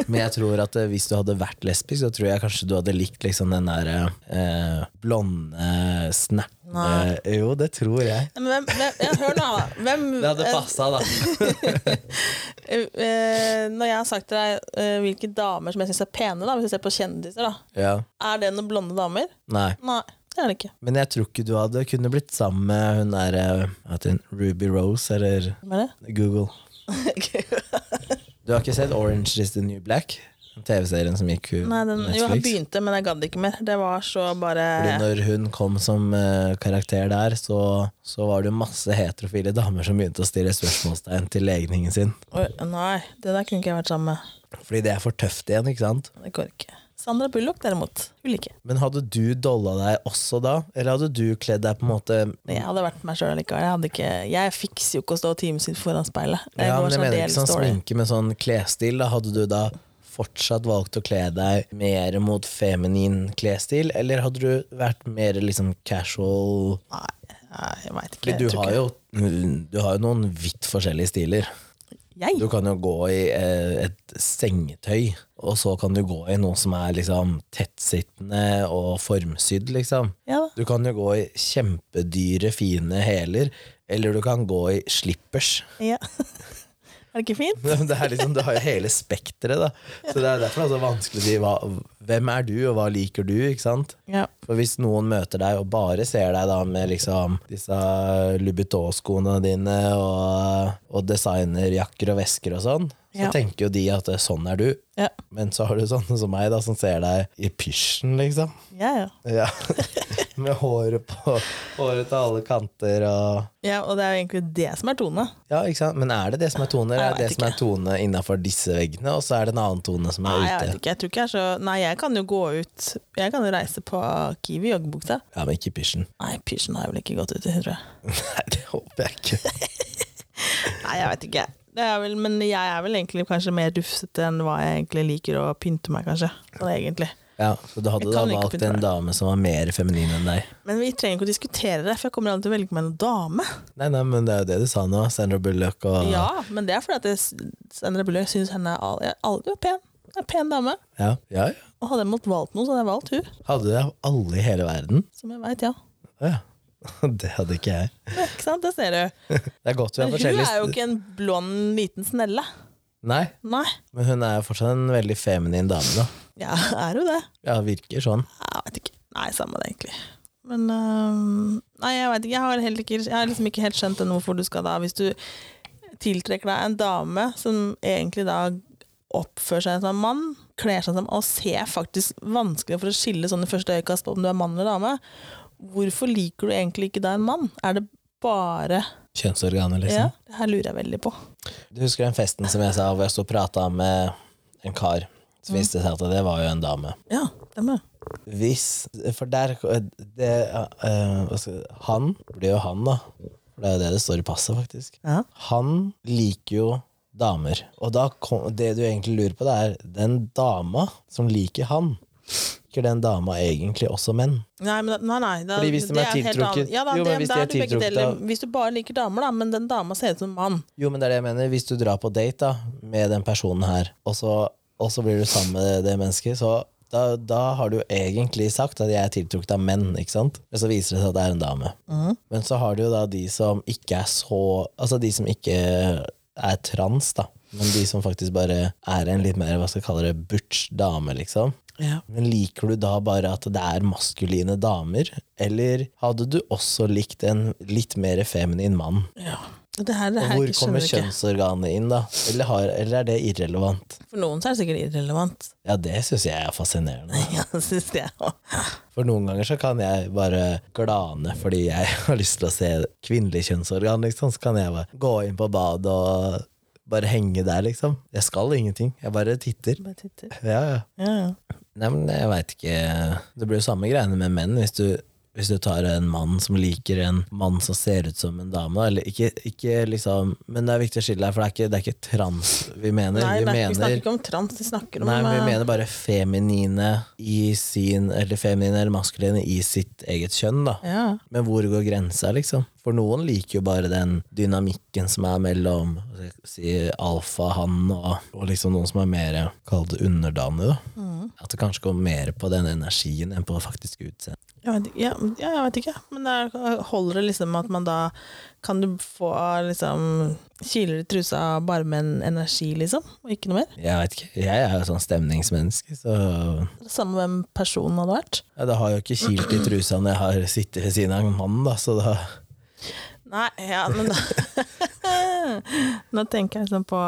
men jeg tror at eh, hvis du hadde vært lesbisk, så tror jeg kanskje du hadde likt liksom den der eh, blonde, snerte
Nei.
Jo, det tror jeg.
Nei, Men hvem, hvem, ja, hør nå, da. Hvem,
*laughs* Det hadde passa, da.
eh, eh, når jeg har sagt til deg eh, hvilke damer som jeg syns er pene, da, hvis vi ser på kjendiser, da,
Ja.
er det noen blonde damer?
Nei.
Nei, det er det ikke.
Men jeg tror ikke du hadde kunne blitt sammen med hun der eh, hva heter hun? Ruby Rose eller
Hvem er det? *laughs*
Google. Du har ikke sett Orange is the New Black? Den TV-serien som gikk på
Nei, den, jo, jeg
Netflix?
begynte, men jeg gadd ikke mer. Det var så bare
Fordi når hun kom som eh, karakter der, så, så var det jo masse heterofile damer som begynte å stille spørsmålstegn til legningen sin.
Oi, Nei, det der kunne ikke jeg vært sammen med.
Fordi det er for tøft igjen, ikke sant?
Det går ikke. Sandra Bullock, derimot. Hun liker jeg.
Men hadde du dolla deg også da? Eller hadde du kledd deg på en måte
Men Jeg hadde vært meg sjøl likevel. Jeg, hadde ikke, jeg fikser jo ikke å stå timevis foran speilet. Jeg
Ja,
går
men jeg
sånn
mener
del
ikke sånn
story.
sminke, men sånn klesstil. Da hadde du da fortsatt valgt å kle deg mer mot feminin klesstil, eller hadde du vært mer liksom casual?
Nei, nei, jeg veit ikke.
Fordi
Jeg
du
tror
har,
ikke-
jo, du har jo noen vidt forskjellige stiler.
Jeg?
Du kan jo gå i eh, et sengetøy, og så kan du gå i noe som er liksom tettsittende og formsydd, liksom.
Ja da.
Du kan jo gå i kjempedyre, fine hæler, eller du kan gå i slippers. *laughs*
Ja. *laughs* er det ikke fint?
Ja, men Det er liksom, du har jo hele spekteret, da. Så det er derfor det er så vanskelig å si hva, hvem er du, og hva liker du? ikke sant?
Ja.
For hvis noen møter deg og bare ser deg da med liksom disse Louboutin-skoene dine og, og designerjakker og vesker og sånn, så
Ja.
tenker jo de at sånn er du.
Ja.
Men så har du sånne som meg, da, som ser deg i pysjen, liksom.
Ja, ja.
Ja. *laughs* med håret på håret til alle kanter og
ja, og det er jo egentlig det som er tone.
ja, ikke sant? Men er det det som er toner?
Jeg
Er det
vet
det som er tone innafor disse veggene, og så er det en annen tone som er
Nei, jeg vet
ute?
ikke. Jeg tror ikke jeg er så Nei, jeg kan jo gå ut Jeg kan jo reise på Kiwi i joggebukse.
Ja, men ikke pysjen. *laughs*
Nei, pysjen har jeg vel ikke gått ut i, tror jeg.
Nei, det håper jeg ikke.
Nei, jeg vet ikke. Det er vel, men jeg er vel egentlig kanskje mer rufsete enn hva jeg egentlig liker å pynte meg, kanskje. Sånn egentlig.
Ja, Så du hadde
Jeg
da
kan ikke
valgt
pynte
en
meg.
dame som var mer feminin enn deg?
Men vi trenger ikke å diskutere det, for jeg kommer aldri til å velge meg en dame.
Nei, nei, men det er jo det du sa nå. Sandra Bullock og
Ja, men det er fordi at jeg, Sandra Bullock syns henne er all, jeg, all, du er pen. Du er en pen dame.
Ja, ja, ja.
Og hadde jeg måttet valgt noen, så hadde jeg valgt hun.
Hadde du det av alle i hele verden?
Som jeg veit, ja.
Å Ja. *laughs* Det hadde ikke jeg.
ja. Ikke sant, det ser du.
Det er godt vi har
Men hun
forskjellige
er jo ikke en blond, liten snelle.
Nei,
Nei.
men hun er jo fortsatt en veldig feminin dame, da.
Ja, er hun det?
Ja, virker sånn.
Jeg vet ikke. Nei, samme det, egentlig. Men øhm, Nei, jeg vet ikke. Jeg har, heller ikke, jeg har liksom ikke helt skjønt ennå hvorfor du skal da Hvis du tiltrekker deg en dame som egentlig da oppfører seg som en mann, kler seg som og ser faktisk vanskelig for å skille sånn i første øyekast på om du er mann eller dame, hvorfor liker du egentlig ikke da en mann? Er det bare
Kjønnsorganet,
Ja,
liksom.
det her lurer jeg veldig på.
Du husker den festen som jeg sa, hvor jeg sto og prata med en kar. Så
Mm.
viste det seg at det var jo en dame.
Ja, stemmer.
Hvis For der det, eh, hva skal jeg- Han blir jo han, da. For det er jo det det står i passet, faktisk.
Ja.
Han liker jo damer. Og da kom, det du egentlig lurer på, det er den dama som liker han. Liker den dama egentlig også menn?
Nei, men, da- nei, nei da,
Fordi hvis de er
et helt
tiltrukket-
annet- ja, da,
Jo, men
det-
hvis
da
de er
er det begge
tiltrukket
deler.
av-
Hvis du bare liker damer, da, men den dama ser ut som en mann.
Jo, men det er det jeg mener. Hvis du drar på date da med den personen her, og så, og så blir du sammen med det mennesket, så da, da har du jo egentlig sagt at jeg er tiltrukket av menn, ikke sant? Men så viser det seg at det er en dame. Men så har du jo da de som ikke er så Altså de som ikke er trans, da. Men de som faktisk bare er en litt mer hva skal jeg kalle det, butch dame, liksom.
Ja.
Men liker du da bare at det er maskuline damer, eller hadde du også likt en litt mer feminin mann?
Det her, det her
Hvor
ikke
kommer
skjønner jeg ikke.
kjønnsorganet inn, da? Eller, har, eller er det irrelevant?
For noen så er det sikkert irrelevant. *laughs*
Ja, det syns jeg er fascinerende.
Ja, synes jeg også.
For noen ganger så kan jeg bare glane fordi jeg *laughs* har lyst til å se kvinnelig kjønnsorgan, liksom. Så kan jeg bare gå inn på badet og bare henge der, liksom. Jeg skal ingenting, jeg bare titter.
Bare titter.
Ja, ja.
Ja, ja.
Nei, men jeg veit ikke. Det blir jo samme greiene med menn. Hvis du, hvis du tar en mann som liker en mann som ser ut som en dame, da, eller ikke, ikke liksom Men det er viktig å skille her, for det er ikke, det er ikke trans vi mener.
Nei,
vi
nei, vi snakker
mener
ikke om trans, vi snakker om
Nei, vi
eh,
mener bare feminine i sin Eller feminine eller maskuline i sitt eget kjønn, da.
ja.
Men hvor går grensa, liksom? For noen liker jo bare den dynamikken som er mellom hva skal jeg si, alfa, han og, og liksom noen som er mer kall det underdanig. Da.
Mm.
At det kanskje går mer på den energien enn på faktisk utseende.
Jeg vet, ikke- ja, ja, jeg vet ikke. Men der holder det liksom at man da kan du få liksom kiler i trusa bare med en energi, liksom, og ikke noe mer.
Jeg vet ikke, jeg er jo sånn stemningsmenneske, så
Det er Samme hvem personen hadde vært.
ja, Det har jo ikke kilt i trusa når jeg har sittet ved siden av en mann, da, så da
Nei, ja, men da *laughs* Nå tenker jeg liksom på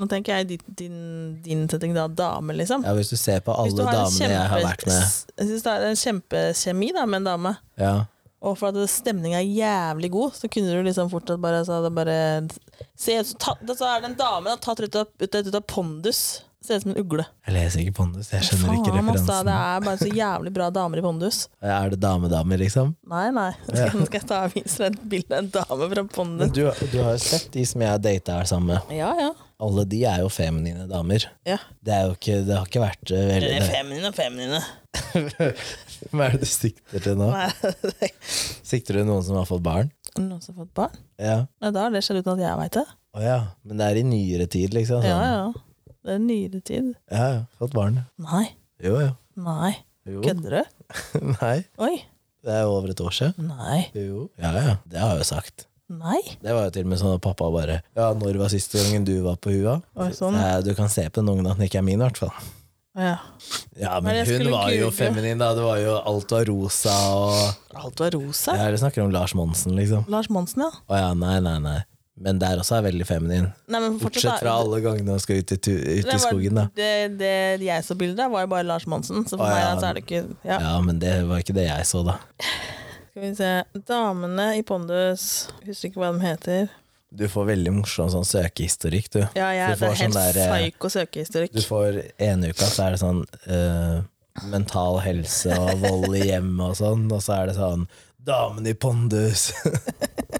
Nå tenker jeg din, din, din setting, da, dame, liksom.
ja, Hvis du ser på
Hvis
alle
du har en
damene jeg har vært med
s- Jeg syns det er en kjempekjemi da, med en dame.
ja.
Og for at stemninga er jævlig god, så kunne du liksom fortsatt bare Så, hadde det bare, se, ut som- ta, da, så er det en dame som har tatt ut av, ut, ut av pondus. Ser ut som en ugle.
Jeg leser ikke Pondus, jeg skjønner ikke
Faen, ass, da,
referansen.
det er bare så jævlig bra damer i pondus.
Er det damedamer, liksom?
Nei, nei.
Ja.
*laughs* Nå skal jeg ta og vise deg et bilde av en dame fra pondus.
Men du, du har jo sett de som jeg har data her sammen med.
Ja, ja.
Alle de er jo feminine damer.
ja.
Det, er jo ikke, det har ikke vært eh, veldig *laughs*
Dere er feminine og feminine.
Hva er det du sikter til nå?
*laughs* Nei,
Sikter du noen som har fått barn?
Er det Noen som har fått barn?
Ja.
Nei, da har det skjedd uten at jeg veit det.
Å ja. Men det er i nyere tid, liksom?
Ja,
Sånn.
ja. Det er nyere tid.
Ja, ja. Fått barn. ja.
Nei.
Jo, ja.
Nei.
Jo.
Kødder du?
*laughs* Nei.
Oi.
Det er jo over et år siden.
Nei.
Jo. Ja, ja. Det har jeg jo sagt.
Nei.
Det var jo til og med sånn at pappa bare Ja, når var siste gangen du var på hua?
Oi, sånn.
Ja, du kan se på den ungen at den ikke er min, i hvert fall.
Ja.
Ja,
Men
men
jeg
hun
skulle
var jo
google.
feminin, da. Det var jo alt var rosa og
Alt var rosa.
Ja, du snakker om Lars Monsen, liksom.
Lars Monsen, ja.
Å ja, nei, nei, nei. Men der også er veldig feminin.
Nei, men
Bortsett fra alle gangene hun skal ut i, tu- ut i
Det var-
skogen, da.
Det, det jeg så bildet av, var jo bare Lars Monsen. Så
Å,
for meg
ja.
da, så er det ikke ja.
Ja, men det var ikke det jeg så, da.
Skal vi se. Damene i Pondus. Husker ikke hva de heter.
Du får veldig morsom sånn søkehistorikk, du.
Ja, ja
Du
det
får
er helt
sånn der, eh,
psyko søkehistorikk.
Du får ene uka, så er det sånn eh, mental helse og vold i hjemmet og sånn, og så er det sånn Damen i pondus! *laughs*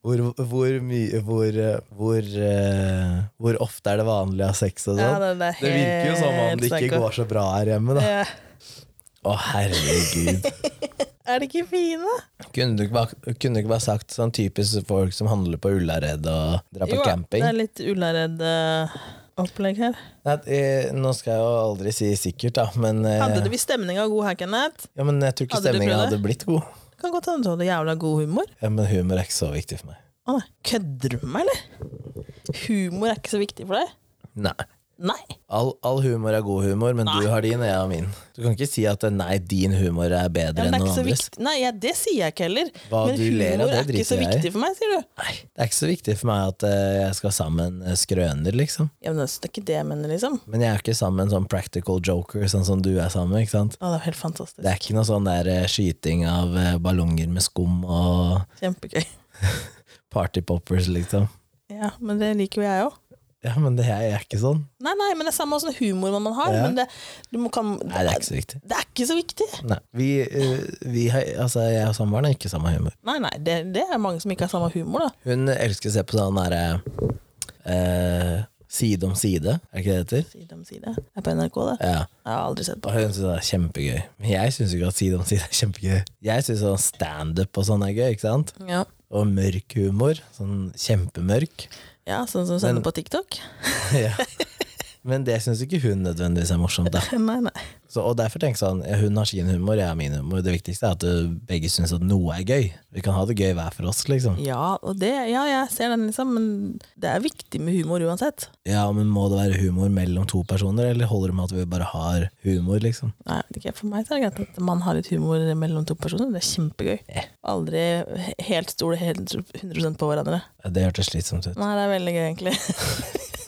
Hvor, hvor mye Hvor eh, hvor, eh, hvor ofte er det vanlig å ha sex og
Ja,
sånn?
det, det, er
Det virker jo som om
helt
det ikke
psyko.
går så bra her hjemme, da.
Ja.
Å, herregud.
Er de ikke fine?
kunne, du ikke bare, kunne du ikke bare sagt sånn typisk folk som handler på Ullared og drar på
Jo,
camping?
Det er litt Ullared eh, opplegg her.
Nei, eh, nå skal jeg jo aldri si sikkert, da, men, eh,
Hadde det visst stemninga god her, Kenneth?
ja, men jeg tror ikke
Hadde du
stemninga
prøvd det?
hadde blitt god.
Kan godt hende du hadde jævla god humor.
Ja, men humor er ikke så viktig for meg.
Å nei, Kødder du med meg, eller? Humor er ikke så viktig for deg?
Nei.
Nei.
All, all humor er god humor, men du
Nei.
har din, og jeg har min. Du kan ikke si at eh, nei, din humor er bedre
Ja,
enn
men det er
noen
ikke så
andres.
viktig. Nei, ja, det sier jeg ikke heller.
Hva
men
du ler av,
humor
det
er ikke så
driter jeg i.
viktig for meg, sier du.
Nei, det er ikke så viktig for meg at eh, jeg skal sammen eh, skrøner, liksom.
Ja, men det er ikke det jeg mener, liksom.
Men jeg er ikke sammen med en sånn practical joker, sånn som du er sammen med. ikke sant?
Å, det er helt fantastisk.
Det er ikke noe sånn der eh, skyting av eh, ballonger med skum og
Kjempegøy.
party poppers, liksom.
Ja, men det liker jo jeg òg.
Ja, men det jeg er ikke sånn.
Nei, nei, men det er samme åssen humor man har.
Ja.
Men det, du må, kan, det,
Nei, det er
er,
ikke så viktig.
det er ikke så viktig.
Nei, vi, eh, vi har, altså, Jeg og samboeren har ikke samme humor.
Nei, nei, det, det er mange som ikke har samme humor, da.
Hun elsker å se på sånn derre eh, Side om side, er ikke det det heter?
Side om side. Det er på NRK, det.
Ja,
Jeg har aldri sett på.
og hun synes det er kjempegøy. Men jeg syns ikke at side om side er kjempegøy. Jeg syns sånn standup og sånn er gøy, ikke sant?
Ja,
Og mørk humor. Sånn kjempemørk. *laughs*
ja sånn som sender på TikTok.
ja. Men det syns ikke hun nødvendigvis er morsomt. Da.
Nei, nei.
Så, og derfor tenker jeg sånn, ja, Hun har sin humor, jeg har min humor. Det viktigste er at uh, begge syns at noe er gøy. Vi kan ha det gøy hver for oss, liksom.
Ja, og det, ja, jeg ser den, liksom. Men det er viktig med humor uansett.
Ja, Men må det være humor mellom to personer, eller holder det med at vi bare har humor, liksom?
Nei, jeg vet ikke, For meg så er det greit at man har litt humor mellom to personer. Det er kjempegøy.
Ja.
Aldri he- helt stole helt 100 på hverandre.
Ja, Det hørtes slitsomt ut.
Nei, det er veldig gøy, egentlig. *laughs*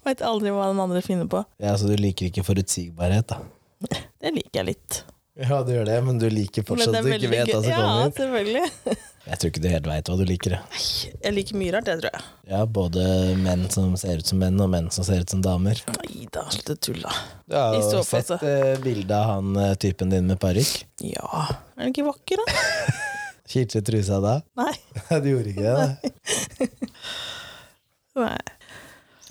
Veit aldri hva den andre finner på.
Ja, Så du liker ikke forutsigbarhet, da?
Det liker jeg litt.
Ja, du gjør det, men du liker fortsatt
Men
at du
det er
ikke
veldig
vet hva
gøy.
som
Ja,
kommer.
selvfølgelig.
Jeg tror ikke du helt veit hva du liker. jeg.
Jeg liker mye rart, jeg, tror jeg.
Ja, Både menn som ser ut som menn, og menn som ser ut som damer.
Nei da, slutt å tulle, da.
Du har
I
jo
så fall,
sett eh, bildet av han eh, typen din med parykk.
Ja. Er den ikke vakker, da?
Kilte trusa da? *laughs*
Nei.
Nei, du gjorde ikke det.
Nei.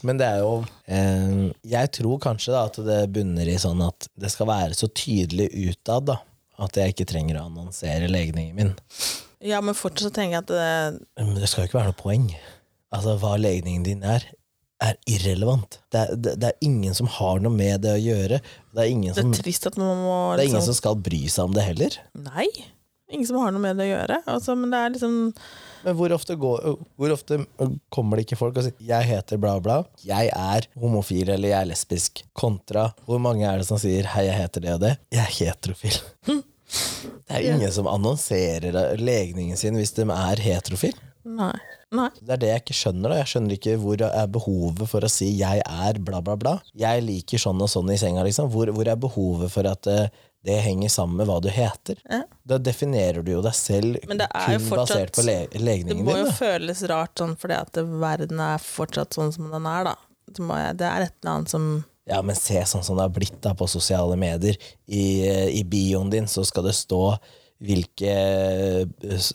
Men det er jo eh, Jeg tror kanskje da at det bunner i sånn at det skal være så tydelig utad da at jeg ikke trenger å annonsere legningen min.
Ja, men fortsatt så tenker jeg at eh, det,
Men det skal jo ikke være noe poeng. Altså, hva legningen din er, er irrelevant. Det er, det, det er ingen som har noe med det å gjøre. Det er ingen
det
som,
er trist at man må
Sånn.
liksom
det er ingen som skal bry seg om det heller.
Nei. Ingen som har noe med det å gjøre. Altså, men det er liksom
Men hvor ofte, går, hvor ofte kommer det ikke folk og sier 'jeg heter bla, bla', 'jeg er homofil' eller 'jeg er lesbisk', kontra hvor mange er det som sier 'hei, jeg heter det og det', 'jeg er
*laughs*
heterofil'. Det er ingen som annonserer legningen sin hvis de er heterofil.
Nei. Nei.
Det er det jeg ikke skjønner. da Jeg skjønner ikke hvor er behovet for å si 'jeg er bla, bla, bla'. Jeg liker sånn og sånn i senga, liksom. Hvor, hvor er behovet for at eh, det henger sammen med hva du heter?
Ja.
Da definerer du jo deg selv
Men det er jo
kun
fortsatt-
basert på le
Det
legningen
må
din.
jo
Da.
føles rart sånn fordi at verden er fortsatt sånn som den er, da. Det, må, jeg- det er et eller annet som
Ja, men se sånn som det har blitt da på sosiale medier. I, eh, i bioen din så skal det stå hvilke,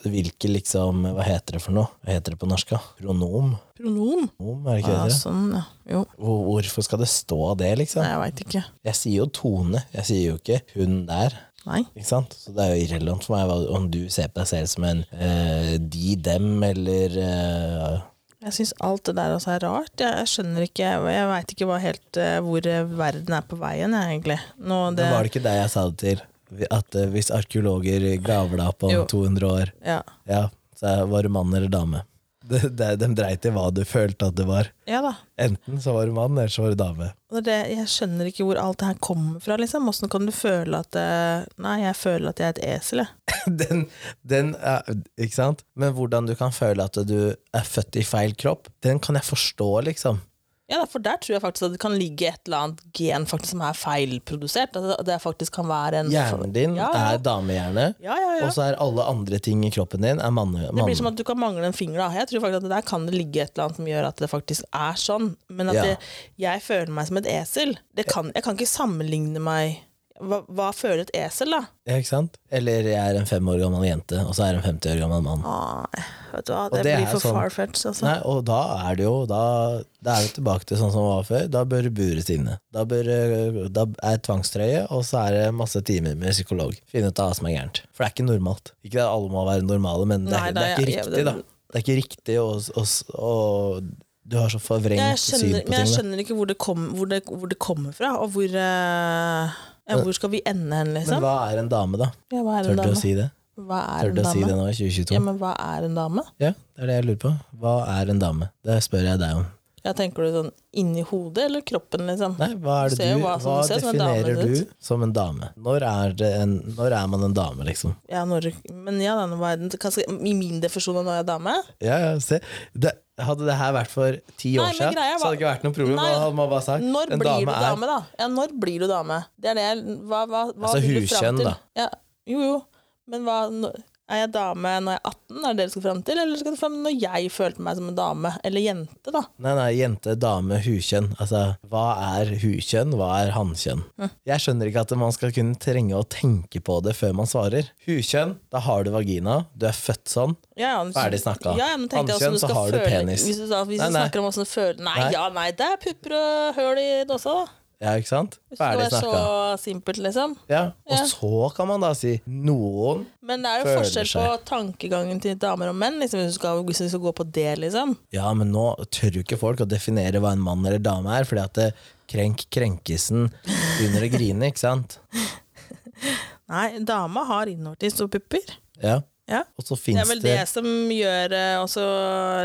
hvilke liksom Hva heter det for noe? Hva heter det på norsk? da? Pronom?
Pronom?
Pronom, er det ikke
Ja,
det det? heter?
sånn, ja. Jo.
Hvor- Hvorfor skal det stå det,
Nei,
liksom?
jeg veit ikke.
Jeg sier jo Tone, jeg sier jo ikke hun der.
Nei.
Ikke sant? Så det er jo irrelevant for meg hva- om du ser på deg selv som en eh, de, dem eller eh,
Jeg syns alt det der også er rart. Jeg, jeg skjønner ikke Jeg veit ikke hva helt eh, hvor eh, verden er på veien, jeg, egentlig.
Men
Nå, det,
var det ikke deg jeg sa det til? At eh, hvis arkeologer graver deg opp om
Jo.
200 år
ja.
Ja, så jeg- var du mann eller dame. De, de, de dreit i hva du følte at du var.
ja da.
Enten så var du mann, eller så var du dame.
Og Det, er det- jeg skjønner ikke hvor alt det her kommer fra, liksom. Åssen kan du føle at eh, Nei, jeg føler at jeg er et esel, jeg.
*laughs* Den, den er, ikke sant? Men hvordan du kan føle at du er født i feil kropp, den kan jeg forstå, liksom.
Ja, da, for der tror jeg faktisk at det kan ligge et eller annet gen faktisk som er feilprodusert. Altså, At det- det faktisk kan være en
Hjernen din
Ja, ja.
er damehjerne,
Ja, ja, ja.
og så er alle andre ting i kroppen din er manne.
Det blir
manne.
som at du kan mangle en finger. Da. Jeg tror faktisk at Der kan det ligge et eller annet som gjør at det faktisk er sånn. Men at
Ja.
det, jeg føler meg som et esel. Det kan, jeg kan ikke sammenligne meg hva, hva føler et esel, da?
Ja, ikke sant? Eller jeg er en fem år gammel jente, og så er jeg en 50 år gammel mann.
Nei, vet du hva, det,
det
blir
er
for
sånn-
farfetched, altså.
Nei, og da er det jo da, da er vi tilbake til sånn som det var før. Da bør det bures inne. Da, bør, eh, da er tvangstrøye, og så er det masse timer med psykolog. Finne ut av hva som er gærent. For det er ikke normalt. Ikke at alle må være normale, men det er,
Nei,
det er
da,
ikke
ja, ja,
riktig, da.
det-
Det er ikke riktig å, å, å Du har så forvrengt
Jeg
syn
skjønner,
på ting.
men jeg
Da.
skjønner ikke hvor det, kom, hvor, det, hvor det kommer fra, og hvor, eh, ja, hvor skal vi ende hen,
Men
liksom?
hva er en dame, da?
Ja, hva er en
Tør du å
dame?
si det?
Hva er
Tør
en
du å si det
dame?
nå i 2022?
Ja,
Ja,
men hva er en dame?
det er det jeg lurer på. Hva er en dame? Det spør jeg deg om.
Ja, tenker du sånn inni hodet eller kroppen, liksom?
Nei, hva er det
Du ser jo
du, hva
hva som- du ser som en dame
definerer
ut.
du som en dame? Når er, det en, når er man en dame, liksom?
Ja, når, men ja, da, nå var jeg- hva skal- I min definisjon av når jeg er dame?
Ja, ja, se. Det, hadde det her vært for ti
Nei,
år
men
siden,
greia
så hadde det ikke vært noe problem.
Nei.
Da hadde man bare sagt
Når
en
blir
dame
du
er
dame, da? Ja, når blir du dame? Det er det jeg Hva, hva, hva
Altså,
vil du fram
huskjønn,
til?
da.
Ja, jo, jo. Men hva når- Er jeg dame når jeg er 18? Er det det du skal fram til? Eller skal du fram til når jeg følte meg som en dame? Eller jente, da?
Nei, nei, jente, dame, hukjønn. Altså, hva er hukjønn, hva er hankjønn? Jeg skjønner ikke at man skal kunne trenge å tenke på det før man svarer. Hukjønn, da har du vagina, du er født sånn.
Ja, ja, men-
Ferdig snakka.
Ja, ja, men tenkte jeg
Hanskjønn,
hvordan
så
skal
har du
føle-
penis.
Hvis du, da, hvis
Nei,
du
nei.
snakker om åssen du føler Nei,
Nei.
ja, nei, det er pupper og høl i det også, da.
Ja, ikke sant?
Hvis det
Ferdig
var
snakka.
så simpelt, liksom.
Ja. Og
Ja.
så kan man da si noen
Men det er
Føler
jo forskjell på tankegangen til damer og menn, liksom, hvis, du skal, hvis du skal gå på det, liksom.
Ja, men nå tør jo ikke folk å definere hva en mann eller dame er, fordi at det krenk krenkesen begynner å grine, ikke sant?
Nei, dama har innovertiss og pupper.
Ja.
Ja.
Og så
Det er
fins
vel
det
det som gjør eh, også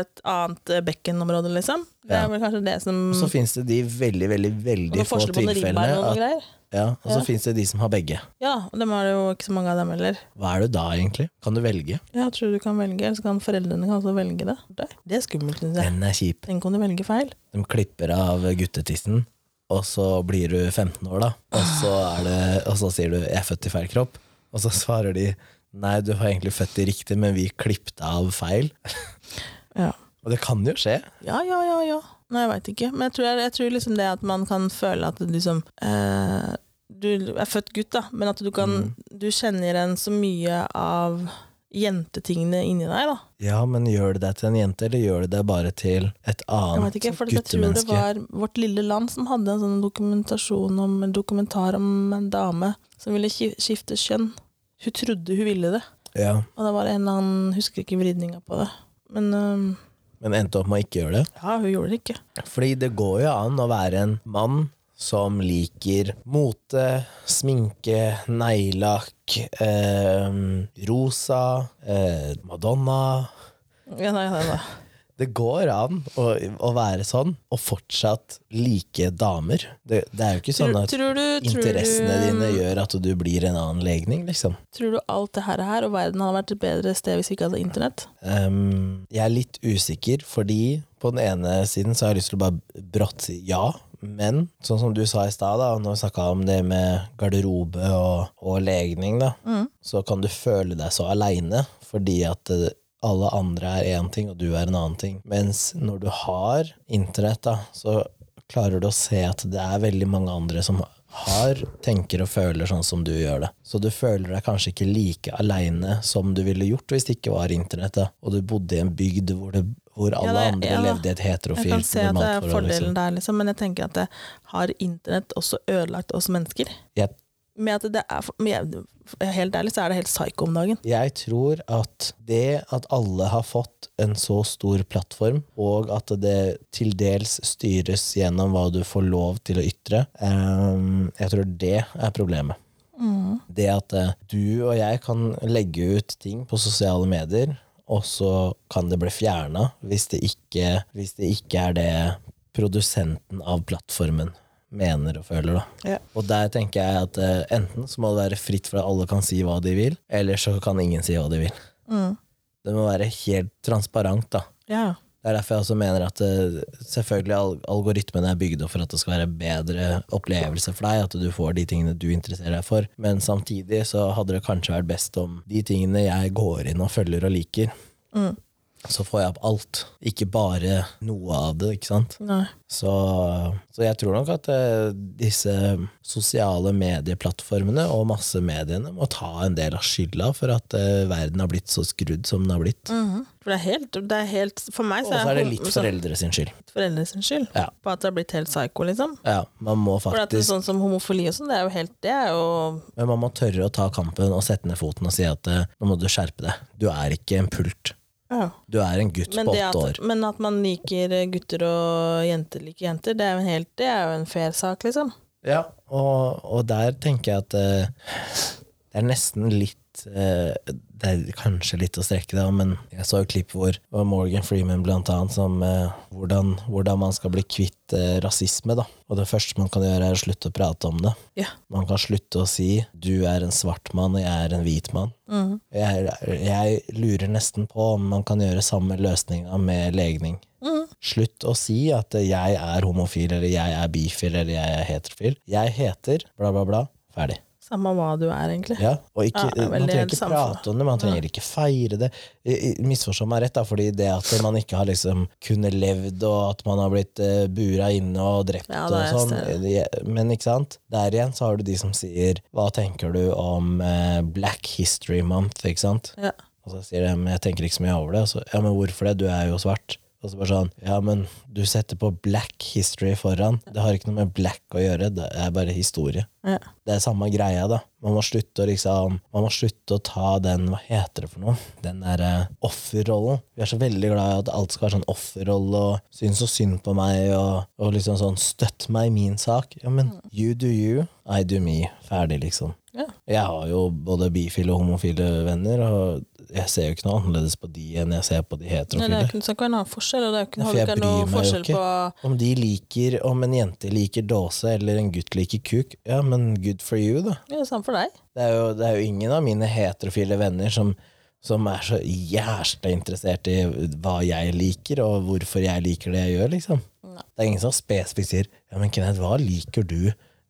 et annet eh, bekkenområde, liksom. Det
Ja.
er vel kanskje det som
og så finnes det de veldig veldig, veldig
noe
få
forskjell på noen ribbein og
tilfellene.
noen
At,
greier.
ja, og så
Ja.
finnes det de som har begge.
Ja, og dem har det jo ikke så mange av dem heller.
Hva er du da, egentlig? Kan du velge?
Ja, jeg tror du kan velge, eller så kan foreldrene kan også velge det. Det det er skummelt, syns jeg.
Den er kjip.
Tenk om du velger feil.
De klipper av guttetissen, og så blir du 15 år, da. Og så, er det, og så sier du 'jeg er født i feil kropp', og så svarer de 'nei, du var egentlig født i riktig, men vi klippet av feil'.
Ja.
Og det kan jo skje.
Ja, ja, ja, ja. Nei, jeg veit ikke. Men jeg tror, jeg, tror liksom det at man kan føle at du liksom eh, Du er født gutt, da, men at du kan Du kjenner igjen så mye av jentetingene inni deg, da.
Ja, men gjør det deg til en jente, eller gjør det deg bare til et
Jeg vet
annet
ikke, for jeg tror det
guttemenneske?
var Vårt Lille Land som hadde en sånn dokumentasjon om, en dokumentar om en dame som ville ki- skifte kjønn. Hun trodde hun ville det,
Ja,
og da var det en eller annen Husker ikke vridninga på det. Men eh, øhm,
men endte opp med å ikke gjøre det.
ja, hun gjorde det ikke.
Fordi det går jo an å være en mann som liker mote, sminke, neglelakk, eh, rosa, eh, Madonna
Ja, nei, nei, nei.
Det går an å, å være sånn, og fortsatt like damer. Det, det er jo ikke sånn
Tror,
at
tror, du, tror,
interessene dine
du,
gjør at du blir en annen legning, liksom.
tror du alt det her, her og verden hadde vært et bedre sted hvis vi ikke hadde internett?
Ehm, jeg er litt usikker, fordi på den ene siden så har jeg lyst til å bare brått si ja. Men sånn som du sa i stad, da, når vi snakka om det med garderobe og, og legning, da, så kan du føle deg så aleine fordi at eh, alle andre er én ting, og du er en annen ting. Mens når du har internett, da, så klarer du å se at det er veldig mange andre som har, tenker og føler sånn som du gjør det. Så du føler deg kanskje ikke like aleine som du ville gjort hvis det ikke var internett, da. og du bodde i en bygd hvor, det, hvor alle
det-
andre
ja da.
levde i et
Jeg kan
heterofilt
se at det er
normalt forhold.
fordelen
Liksom.
der, liksom, men jeg tenker at det har internett også ødelagt oss mennesker?
Jeg,
med at det er for, men jeg, Helt ærlig så er det helt psyko om dagen.
jeg tror at det at alle har fått en så stor plattform, og at det til dels styres gjennom hva du får lov til å ytre, eh, jeg tror det er problemet. Det at eh, du og jeg kan legge ut ting på sosiale medier, og så kan det bli fjerna hvis, det ikke- hvis det ikke er det produsenten av plattformen mener og føler. Da.
Ja.
Og der tenker jeg at eh, enten så må det være fritt for at alle kan si hva de vil, eller så kan ingen si hva de vil.
Mm.
Det må være helt transparent. da.
Ja.
Det er derfor jeg også mener at eh, selvfølgelig al- algoritmen er bygd opp for at det skal være bedre opplevelse for deg, at du får de tingene du interesserer deg for, men samtidig så hadde det kanskje vært best om de tingene jeg går inn og følger og liker,
Mm.
så får jeg opp alt, ikke bare noe av det, ikke sant?
Nei.
Så, så jeg tror nok at eh, disse sosiale medieplattformene og massemediene må ta en del av skylda for at eh, verden har blitt så skrudd som den har blitt.
For det er helt, det er helt For meg
Og
så
så er det litt
Mm. så-
foreldre sin skyld.
foreldre sin skyld.
Ja.
På at det har blitt helt psyko, liksom.
Ja, man må
For at det er
faktisk
sånn som homofili og sånn, det er jo helt Det er jo
Men man må tørre å ta kampen og sette ned foten og si at eh, nå må du skjerpe deg. Du er ikke en pult.
Ja.
Du er en gutt
Men,
på
det
åtte
at,
år.
men at man liker eh, gutter og jenter liker jenter, det er jo en, helt, det er jo en fair sak, liksom.
Ja, og, og der tenker jeg at eh, det er nesten litt eh, Det er kanskje litt å strekke det, men jeg så et klipp hvor hvor Morgan Freeman blant annet som eh, hvordan, hvordan man skal bli kvitt eh, rasisme, da. Og det første man kan gjøre, er å slutte å prate om det.
Ja.
Man kan slutte å si 'du er en svart mann, og jeg er en hvit mann'.
Mhm.
Jeg, jeg lurer nesten på om man kan gjøre samme løsninga med legning.
Mhm.
Slutt å si at jeg er homofil, eller jeg er bifil, eller jeg er heterofil. Jeg heter bla, bla, bla. Ferdig.
Samme hva du er, egentlig.
Ja, og ikke,
Ja, det er vel
man
det
trenger ikke
samfunnet.
prate om det, man trenger ikke feire det. I- i- Misforstå meg rett, da, fordi det at man ikke har liksom kunnet levd, og at man har blitt eh, bura inne og drept
Ja,
og
det er
sånn,
stedet.
det- men ikke sant? Der igjen så har du de som sier Hva tenker du om eh, Black History Month, ikke sant?
Ja.
Og så sier de men jeg tenker ikke så mye over det. Og så, ja, men hvorfor det? Du er jo svart. Og så bare sånn, ja, men du setter på black history foran. Det har ikke noe med black å gjøre, det er bare historie.
Ja.
Det er samme greia, da. Man må slutte å liksom Man må slutte å ta den, hva heter det for noe? Den derre offerrollen. Vi er så veldig glad i at alt skal være sånn offerrolle og synes så synd på meg og, og liksom sånn støtt meg i min sak. Ja, men you do you, I do me. Ferdig, liksom.
Mm. Ja.
Jeg har jo både bifile og homofile venner, og jeg ser jo ikke noe annerledes på de enn jeg ser på de
Nei, det er
heterofile.
jo ikke, det skal ikke være noen forskjell, og det er jo ikke,
Nei, for
har jo
jeg
ikke
bryr
noe
meg jo
forskjell
ikke.
på
Om de liker, om en jente liker dåse eller en gutt liker kuk, ja, men good for you, da.
ja, Samme for deg.
Det er jo, det er jo ingen av mine heterofile venner som, som er så jævla interessert i hva jeg liker, og hvorfor jeg liker det jeg gjør, liksom.
Nei.
Det er ingen som spesifikt sier ja, men Kenneth, hva liker du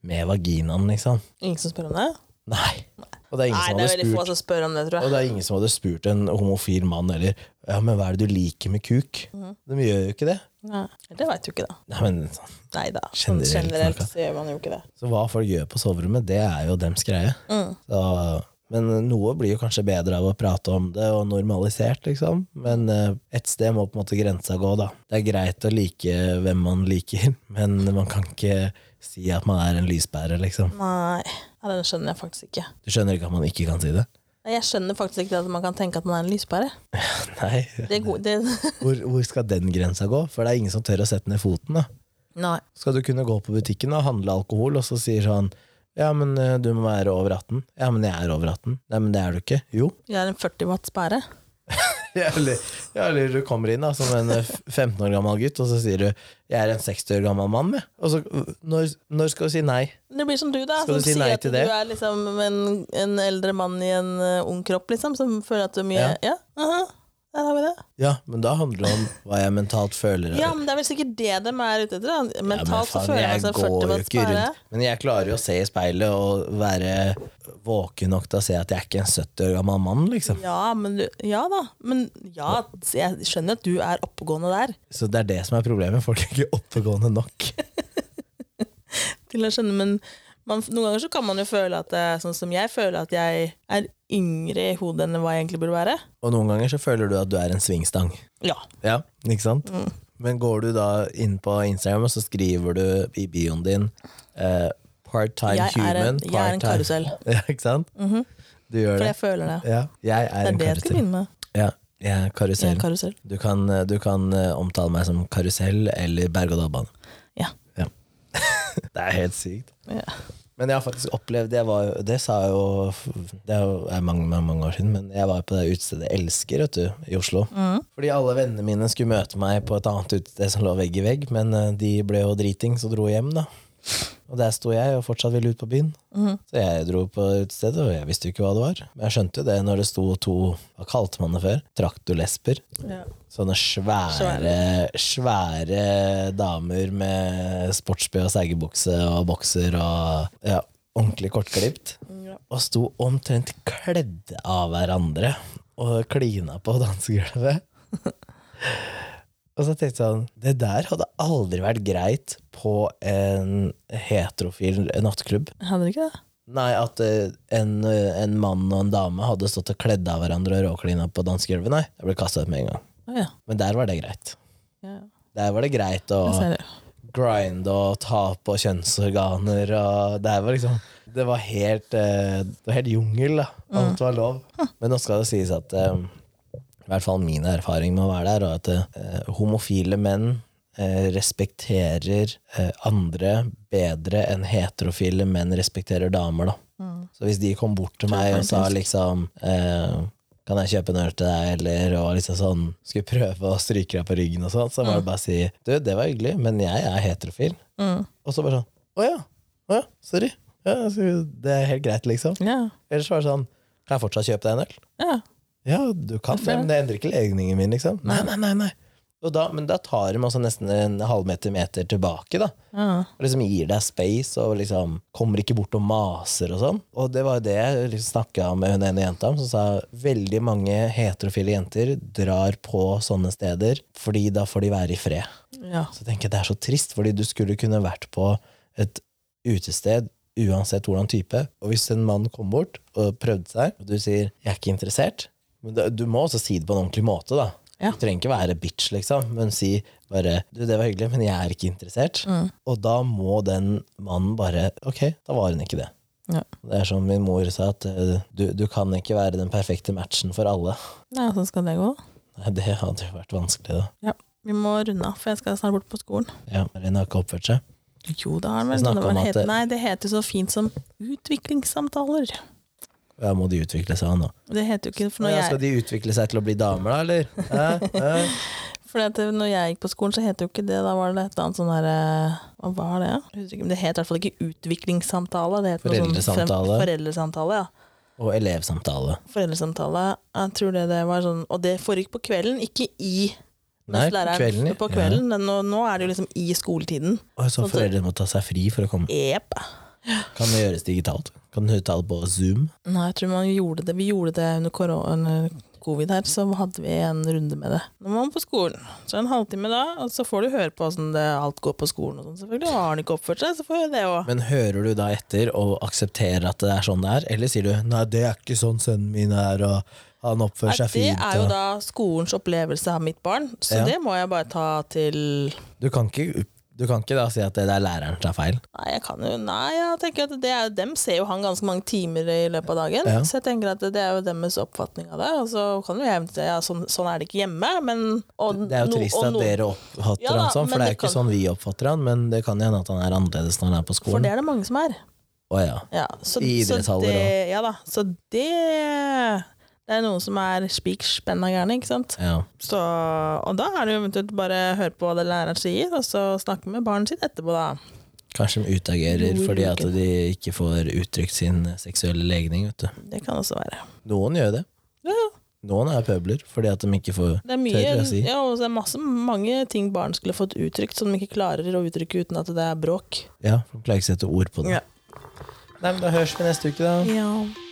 med vaginaen, liksom?
Ingen som spør om det?
Nei. Og det er ingen
Nei,
som
det
hadde
er veldig
spurt
få som spør om det, tror
og
jeg.
det er ingen som hadde spurt en homofil mann eller Ja, men hva er det du liker med kuk?
Mhm.
De gjør jo ikke det.
Nei, det veit du ikke, da.
Nei, men sånn.
Nei da. Sånn
Generelt
generelt
snakka.
så gjør man jo ikke det.
Så hva folk gjør på soverommet, det er jo dems greie.
Mm.
Så, men noe blir jo kanskje bedre av å prate om det og normalisert, liksom. Men eh, et sted må på en måte grensa gå, da. Det er greit å like hvem man liker, *laughs* men man kan ikke si at man er en lyspære, liksom.
Nei, ja, den skjønner jeg faktisk ikke.
Du skjønner ikke at man ikke kan si det? *laughs*
Nei, Jeg skjønner faktisk ikke at man kan tenke at man er en lyspære.
Nei.
Det er god, det... *laughs*
Hvor, hvor skal den grensa gå? For det er ingen som tør å sette ned foten, da.
Nei.
Skal du kunne gå på butikken og handle alkohol, og så sier sånn Ja, men eh, du må være over 18. Ja, men jeg er over 18. Nei, men det er du ikke. Jo.
Jeg er en 40 watts pære.
*laughs* Ja, Eller, ja, eller du kommer inn da som en eh, 15 år gammel gutt, og så sier du 'jeg er en 60 år gammel mann', jeg. Og så øh, når, når skal du si nei?
Det blir som du, da.
Skal du
som
si
sier
nei
at
til det?
Du er liksom en, en eldre mann i en eh, ung kropp, liksom, som føler at du er mye
Ja.
Ja, aha, der har vi det.
Ja, men da handler det om hva jeg mentalt føler.
Ja, men det er vel sikkert det de er ute etter. Da.
Ja, men
Mentalt så
faen,
føler
jeg
jeg meg som
går jo
40 watts
ikke
pære.
rundt- Men jeg klarer jo å se i speilet og være våken nok til å se at jeg er ikke en 70 år gammel mann, liksom.
Ja, men du, ja da. Men ja, jeg skjønner at du er oppegående der.
Så det er det som er problemet. Folk er ikke oppegående nok. *laughs*
Til å skjønne, men man, noen ganger så kan man jo føle at det er sånn som jeg føler at jeg er yngre i hodet enn hva jeg egentlig burde være.
Og noen ganger så føler du at du er en svingstang.
Ja.
Ja, ikke sant?
Mm.
Men går du da inn på Instagram, og så skriver du i bioen din eh, part-time
Jeg er
human
en- jeg er
part-time-
en karusell.
*laughs*
Mhm.
Ja, ikke sant? Du gjør
For
det.
jeg føler det.
Ja, jeg er,
Det er
en
det jeg skal
karusell.
begynne med.
Ja, jeg er
Jeg er
karusell.
en karusell.
Du kan, du kan eh, omtale meg som karusell eller berg-og-dal-bane.
Ja.
Ja. *laughs* det er helt sykt.
Ja.
Men jeg har faktisk opplevd jeg var, jo- Det sa jeg jo Det er jo- er mange, mange, mange år siden, men jeg var på det utestedet Elsker vet du, i Oslo. Fordi alle vennene mine skulle møte meg på et annet utested som lå vegg i vegg, men eh, de ble jo dritings og dro hjem, da. Og der sto jeg og fortsatt ville ut på byen. Så jeg dro på utestedet, og jeg visste jo ikke hva det var. Men jeg skjønte jo det når det sto to Hva kalte man det før? Traktorlesber.
Ja.
Sånne svære, svære damer med sportsby og seigebukse og bokser og ja, ordentlig kortklipt.
Ja.
Og sto omtrent kledd av hverandre og klina på dansegulvet. *laughs* Og så tenkte jeg sånn Det der hadde aldri vært greit på en heterofil nattklubb.
Hadde det ikke det?
Nei, at eh, en, eh, en mann og en dame hadde stått og kledd av hverandre og råklina på dansegulvet. Nei, jeg ble kasta ut med en gang.
Å ja.
Men der var det greit.
ja. ja.
Der var det greit å
Jeg ser det.
grinde og ta på kjønnsorganer. Og der var liksom, det var
Mm.
helt, eh, det var helt jungel. Da. Alt var lov. Men nå skal det sies at eh, i hvert fall min erfaring med å være der, og at eh, homofile menn eh, respekterer eh, andre bedre enn heterofile menn respekterer damer. Da. Så hvis de kom bort til meg og sa liksom eh, kan jeg kjøpe en øl til deg, eller og liksom sånn, skulle prøve å stryke deg på ryggen, og sånn, så var det bare å si du, det var hyggelig, men jeg er heterofil.
Mm.
Og så bare sånn å ja, å ja, sorry. Ja, så det er helt greit, liksom.
Ja.
Eller så var det sånn kan jeg fortsatt kjøpe deg en øl?
ja.
Ja, du kan det, men det endrer ikke legningen min, liksom. Nei, nei, nei, nei. Og da, men da tar de også nesten en halvmeter meter tilbake, da.
Ja.
Og liksom gir deg space og liksom kommer ikke bort og maser og sånn. Og det var jo det jeg liksom snakka med hun ene jenta om, som sa veldig mange heterofile jenter drar på sånne steder fordi da får de være i fred.
ja.
Så tenker jeg det er så trist, fordi du skulle kunne vært på et utested uansett hvordan type. Og hvis en mann kom bort og prøvde seg, og du sier 'jeg er ikke interessert', men da, du må også si det på en ordentlig måte, da.
Ja.
Du trenger ikke være bitch, liksom, men si bare 'du, det var hyggelig, men jeg er ikke interessert'. Og da må den mannen bare 'ok, da var hun ikke det'.
Ja.
Det er som min mor sa, at eh, du, du kan ikke være den perfekte matchen for alle. *laughs*
Nei, sånn skal det gå.
Nei, Det hadde jo vært vanskelig, da.
Ja. Vi må runde av, for jeg skal snart bort på skolen.
Ja, Elin har ikke oppført seg.
Jo, det har den vel.
Snakke
Det var
om at
het,
det-
Nei, det heter jo så fint som utviklingssamtaler.
Ja, må de utvikle seg nå?
Det heter jo ikke for når
Ja,
jeg,
skal de utvikle seg til å bli damer, da, eller? Hæ? Hæ?
Fordi at det- når jeg gikk på skolen, så het det jo ikke det. Da var det et eller annet sånn derre Hva var det? Jeg husker ikke, men Det het i hvert fall ikke utviklingssamtale. Det het noe sånn fem-
Foreldresamtale.
Foreldresamtale, ja.
Og elevsamtale.
Foreldresamtale. Jeg tror det, det var sånn Og det foregikk på kvelden, ikke i
Nei,
mens læreren-
kvelden, ja.
På kvelden. Sånn, Men Nå, nå er det jo liksom i skoletiden.
Og så foreldre må ta seg fri for å komme.
Jepp.
Kan det gjøres digitalt? Kan du uttale på Zoom?
Nei, jeg tror man gjorde det. Vi gjorde det under korona, covid her, så hadde vi en runde med det. Nå må man på skolen. Så en halvtime da, og så får du høre på åssen det- alt går på skolen og sånn. Selvfølgelig Og har han ikke oppført seg, så får jeg det òg.
Men hører du da etter og aksepterer at det er sånn det er, eller sier du 'nei, det er ikke sånn sønnen min er', og 'han oppfører seg
Det
fint'?
er jo
og-
da skolens opplevelse av mitt barn, så
Ja.
det må jeg bare ta til
Du, kan ikke, du kan ikke da si at det er læreren som er feil?
Nei, jeg kan jo Nei, jeg tenker at det er jo dem ser jo han ganske mange timer i løpet av dagen.
Ja.
Så jeg tenker at det er jo deres oppfatning av det. Og så kan jo jeg eventuelt si, ja, sånn, sånn er det ikke hjemme, men og,
Det er jo
no-
trist
og
at
no-
dere oppfatter
Ja da,
han sånn, for
men
det er
det
jo ikke
kan-
sånn vi oppfatter han, men det kan jo hende at han er annerledes når han er på
For
skolen.
det er det mange som er.
Å ja.
Ja, så,
I
så
idrettshaller
det, ja da, så det Det er noen som er spik spenna gærne, ikke sant.
ja.
Så, og da er det jo eventuelt bare å høre på hva det læreren sier, og så snakke med barnet sitt etterpå, da.
Kanskje de utagerer
Jo,
fordi
jo,
at
ikke.
de ikke får uttrykt sin seksuelle legning. Vet du.
Det kan også være.
Noen gjør det.
Ja, ja.
Noen er pøbler fordi at de ikke får
Det er, mye,
Tør jeg si.
ja, og så er det masse, mange ting barn skulle fått uttrykt, som de ikke klarer å uttrykke uten at det er bråk.
Ja, for de klarer ikke å sette ord på det.
Ja.
Nei, men Da høres vi neste uke, da.
Ja.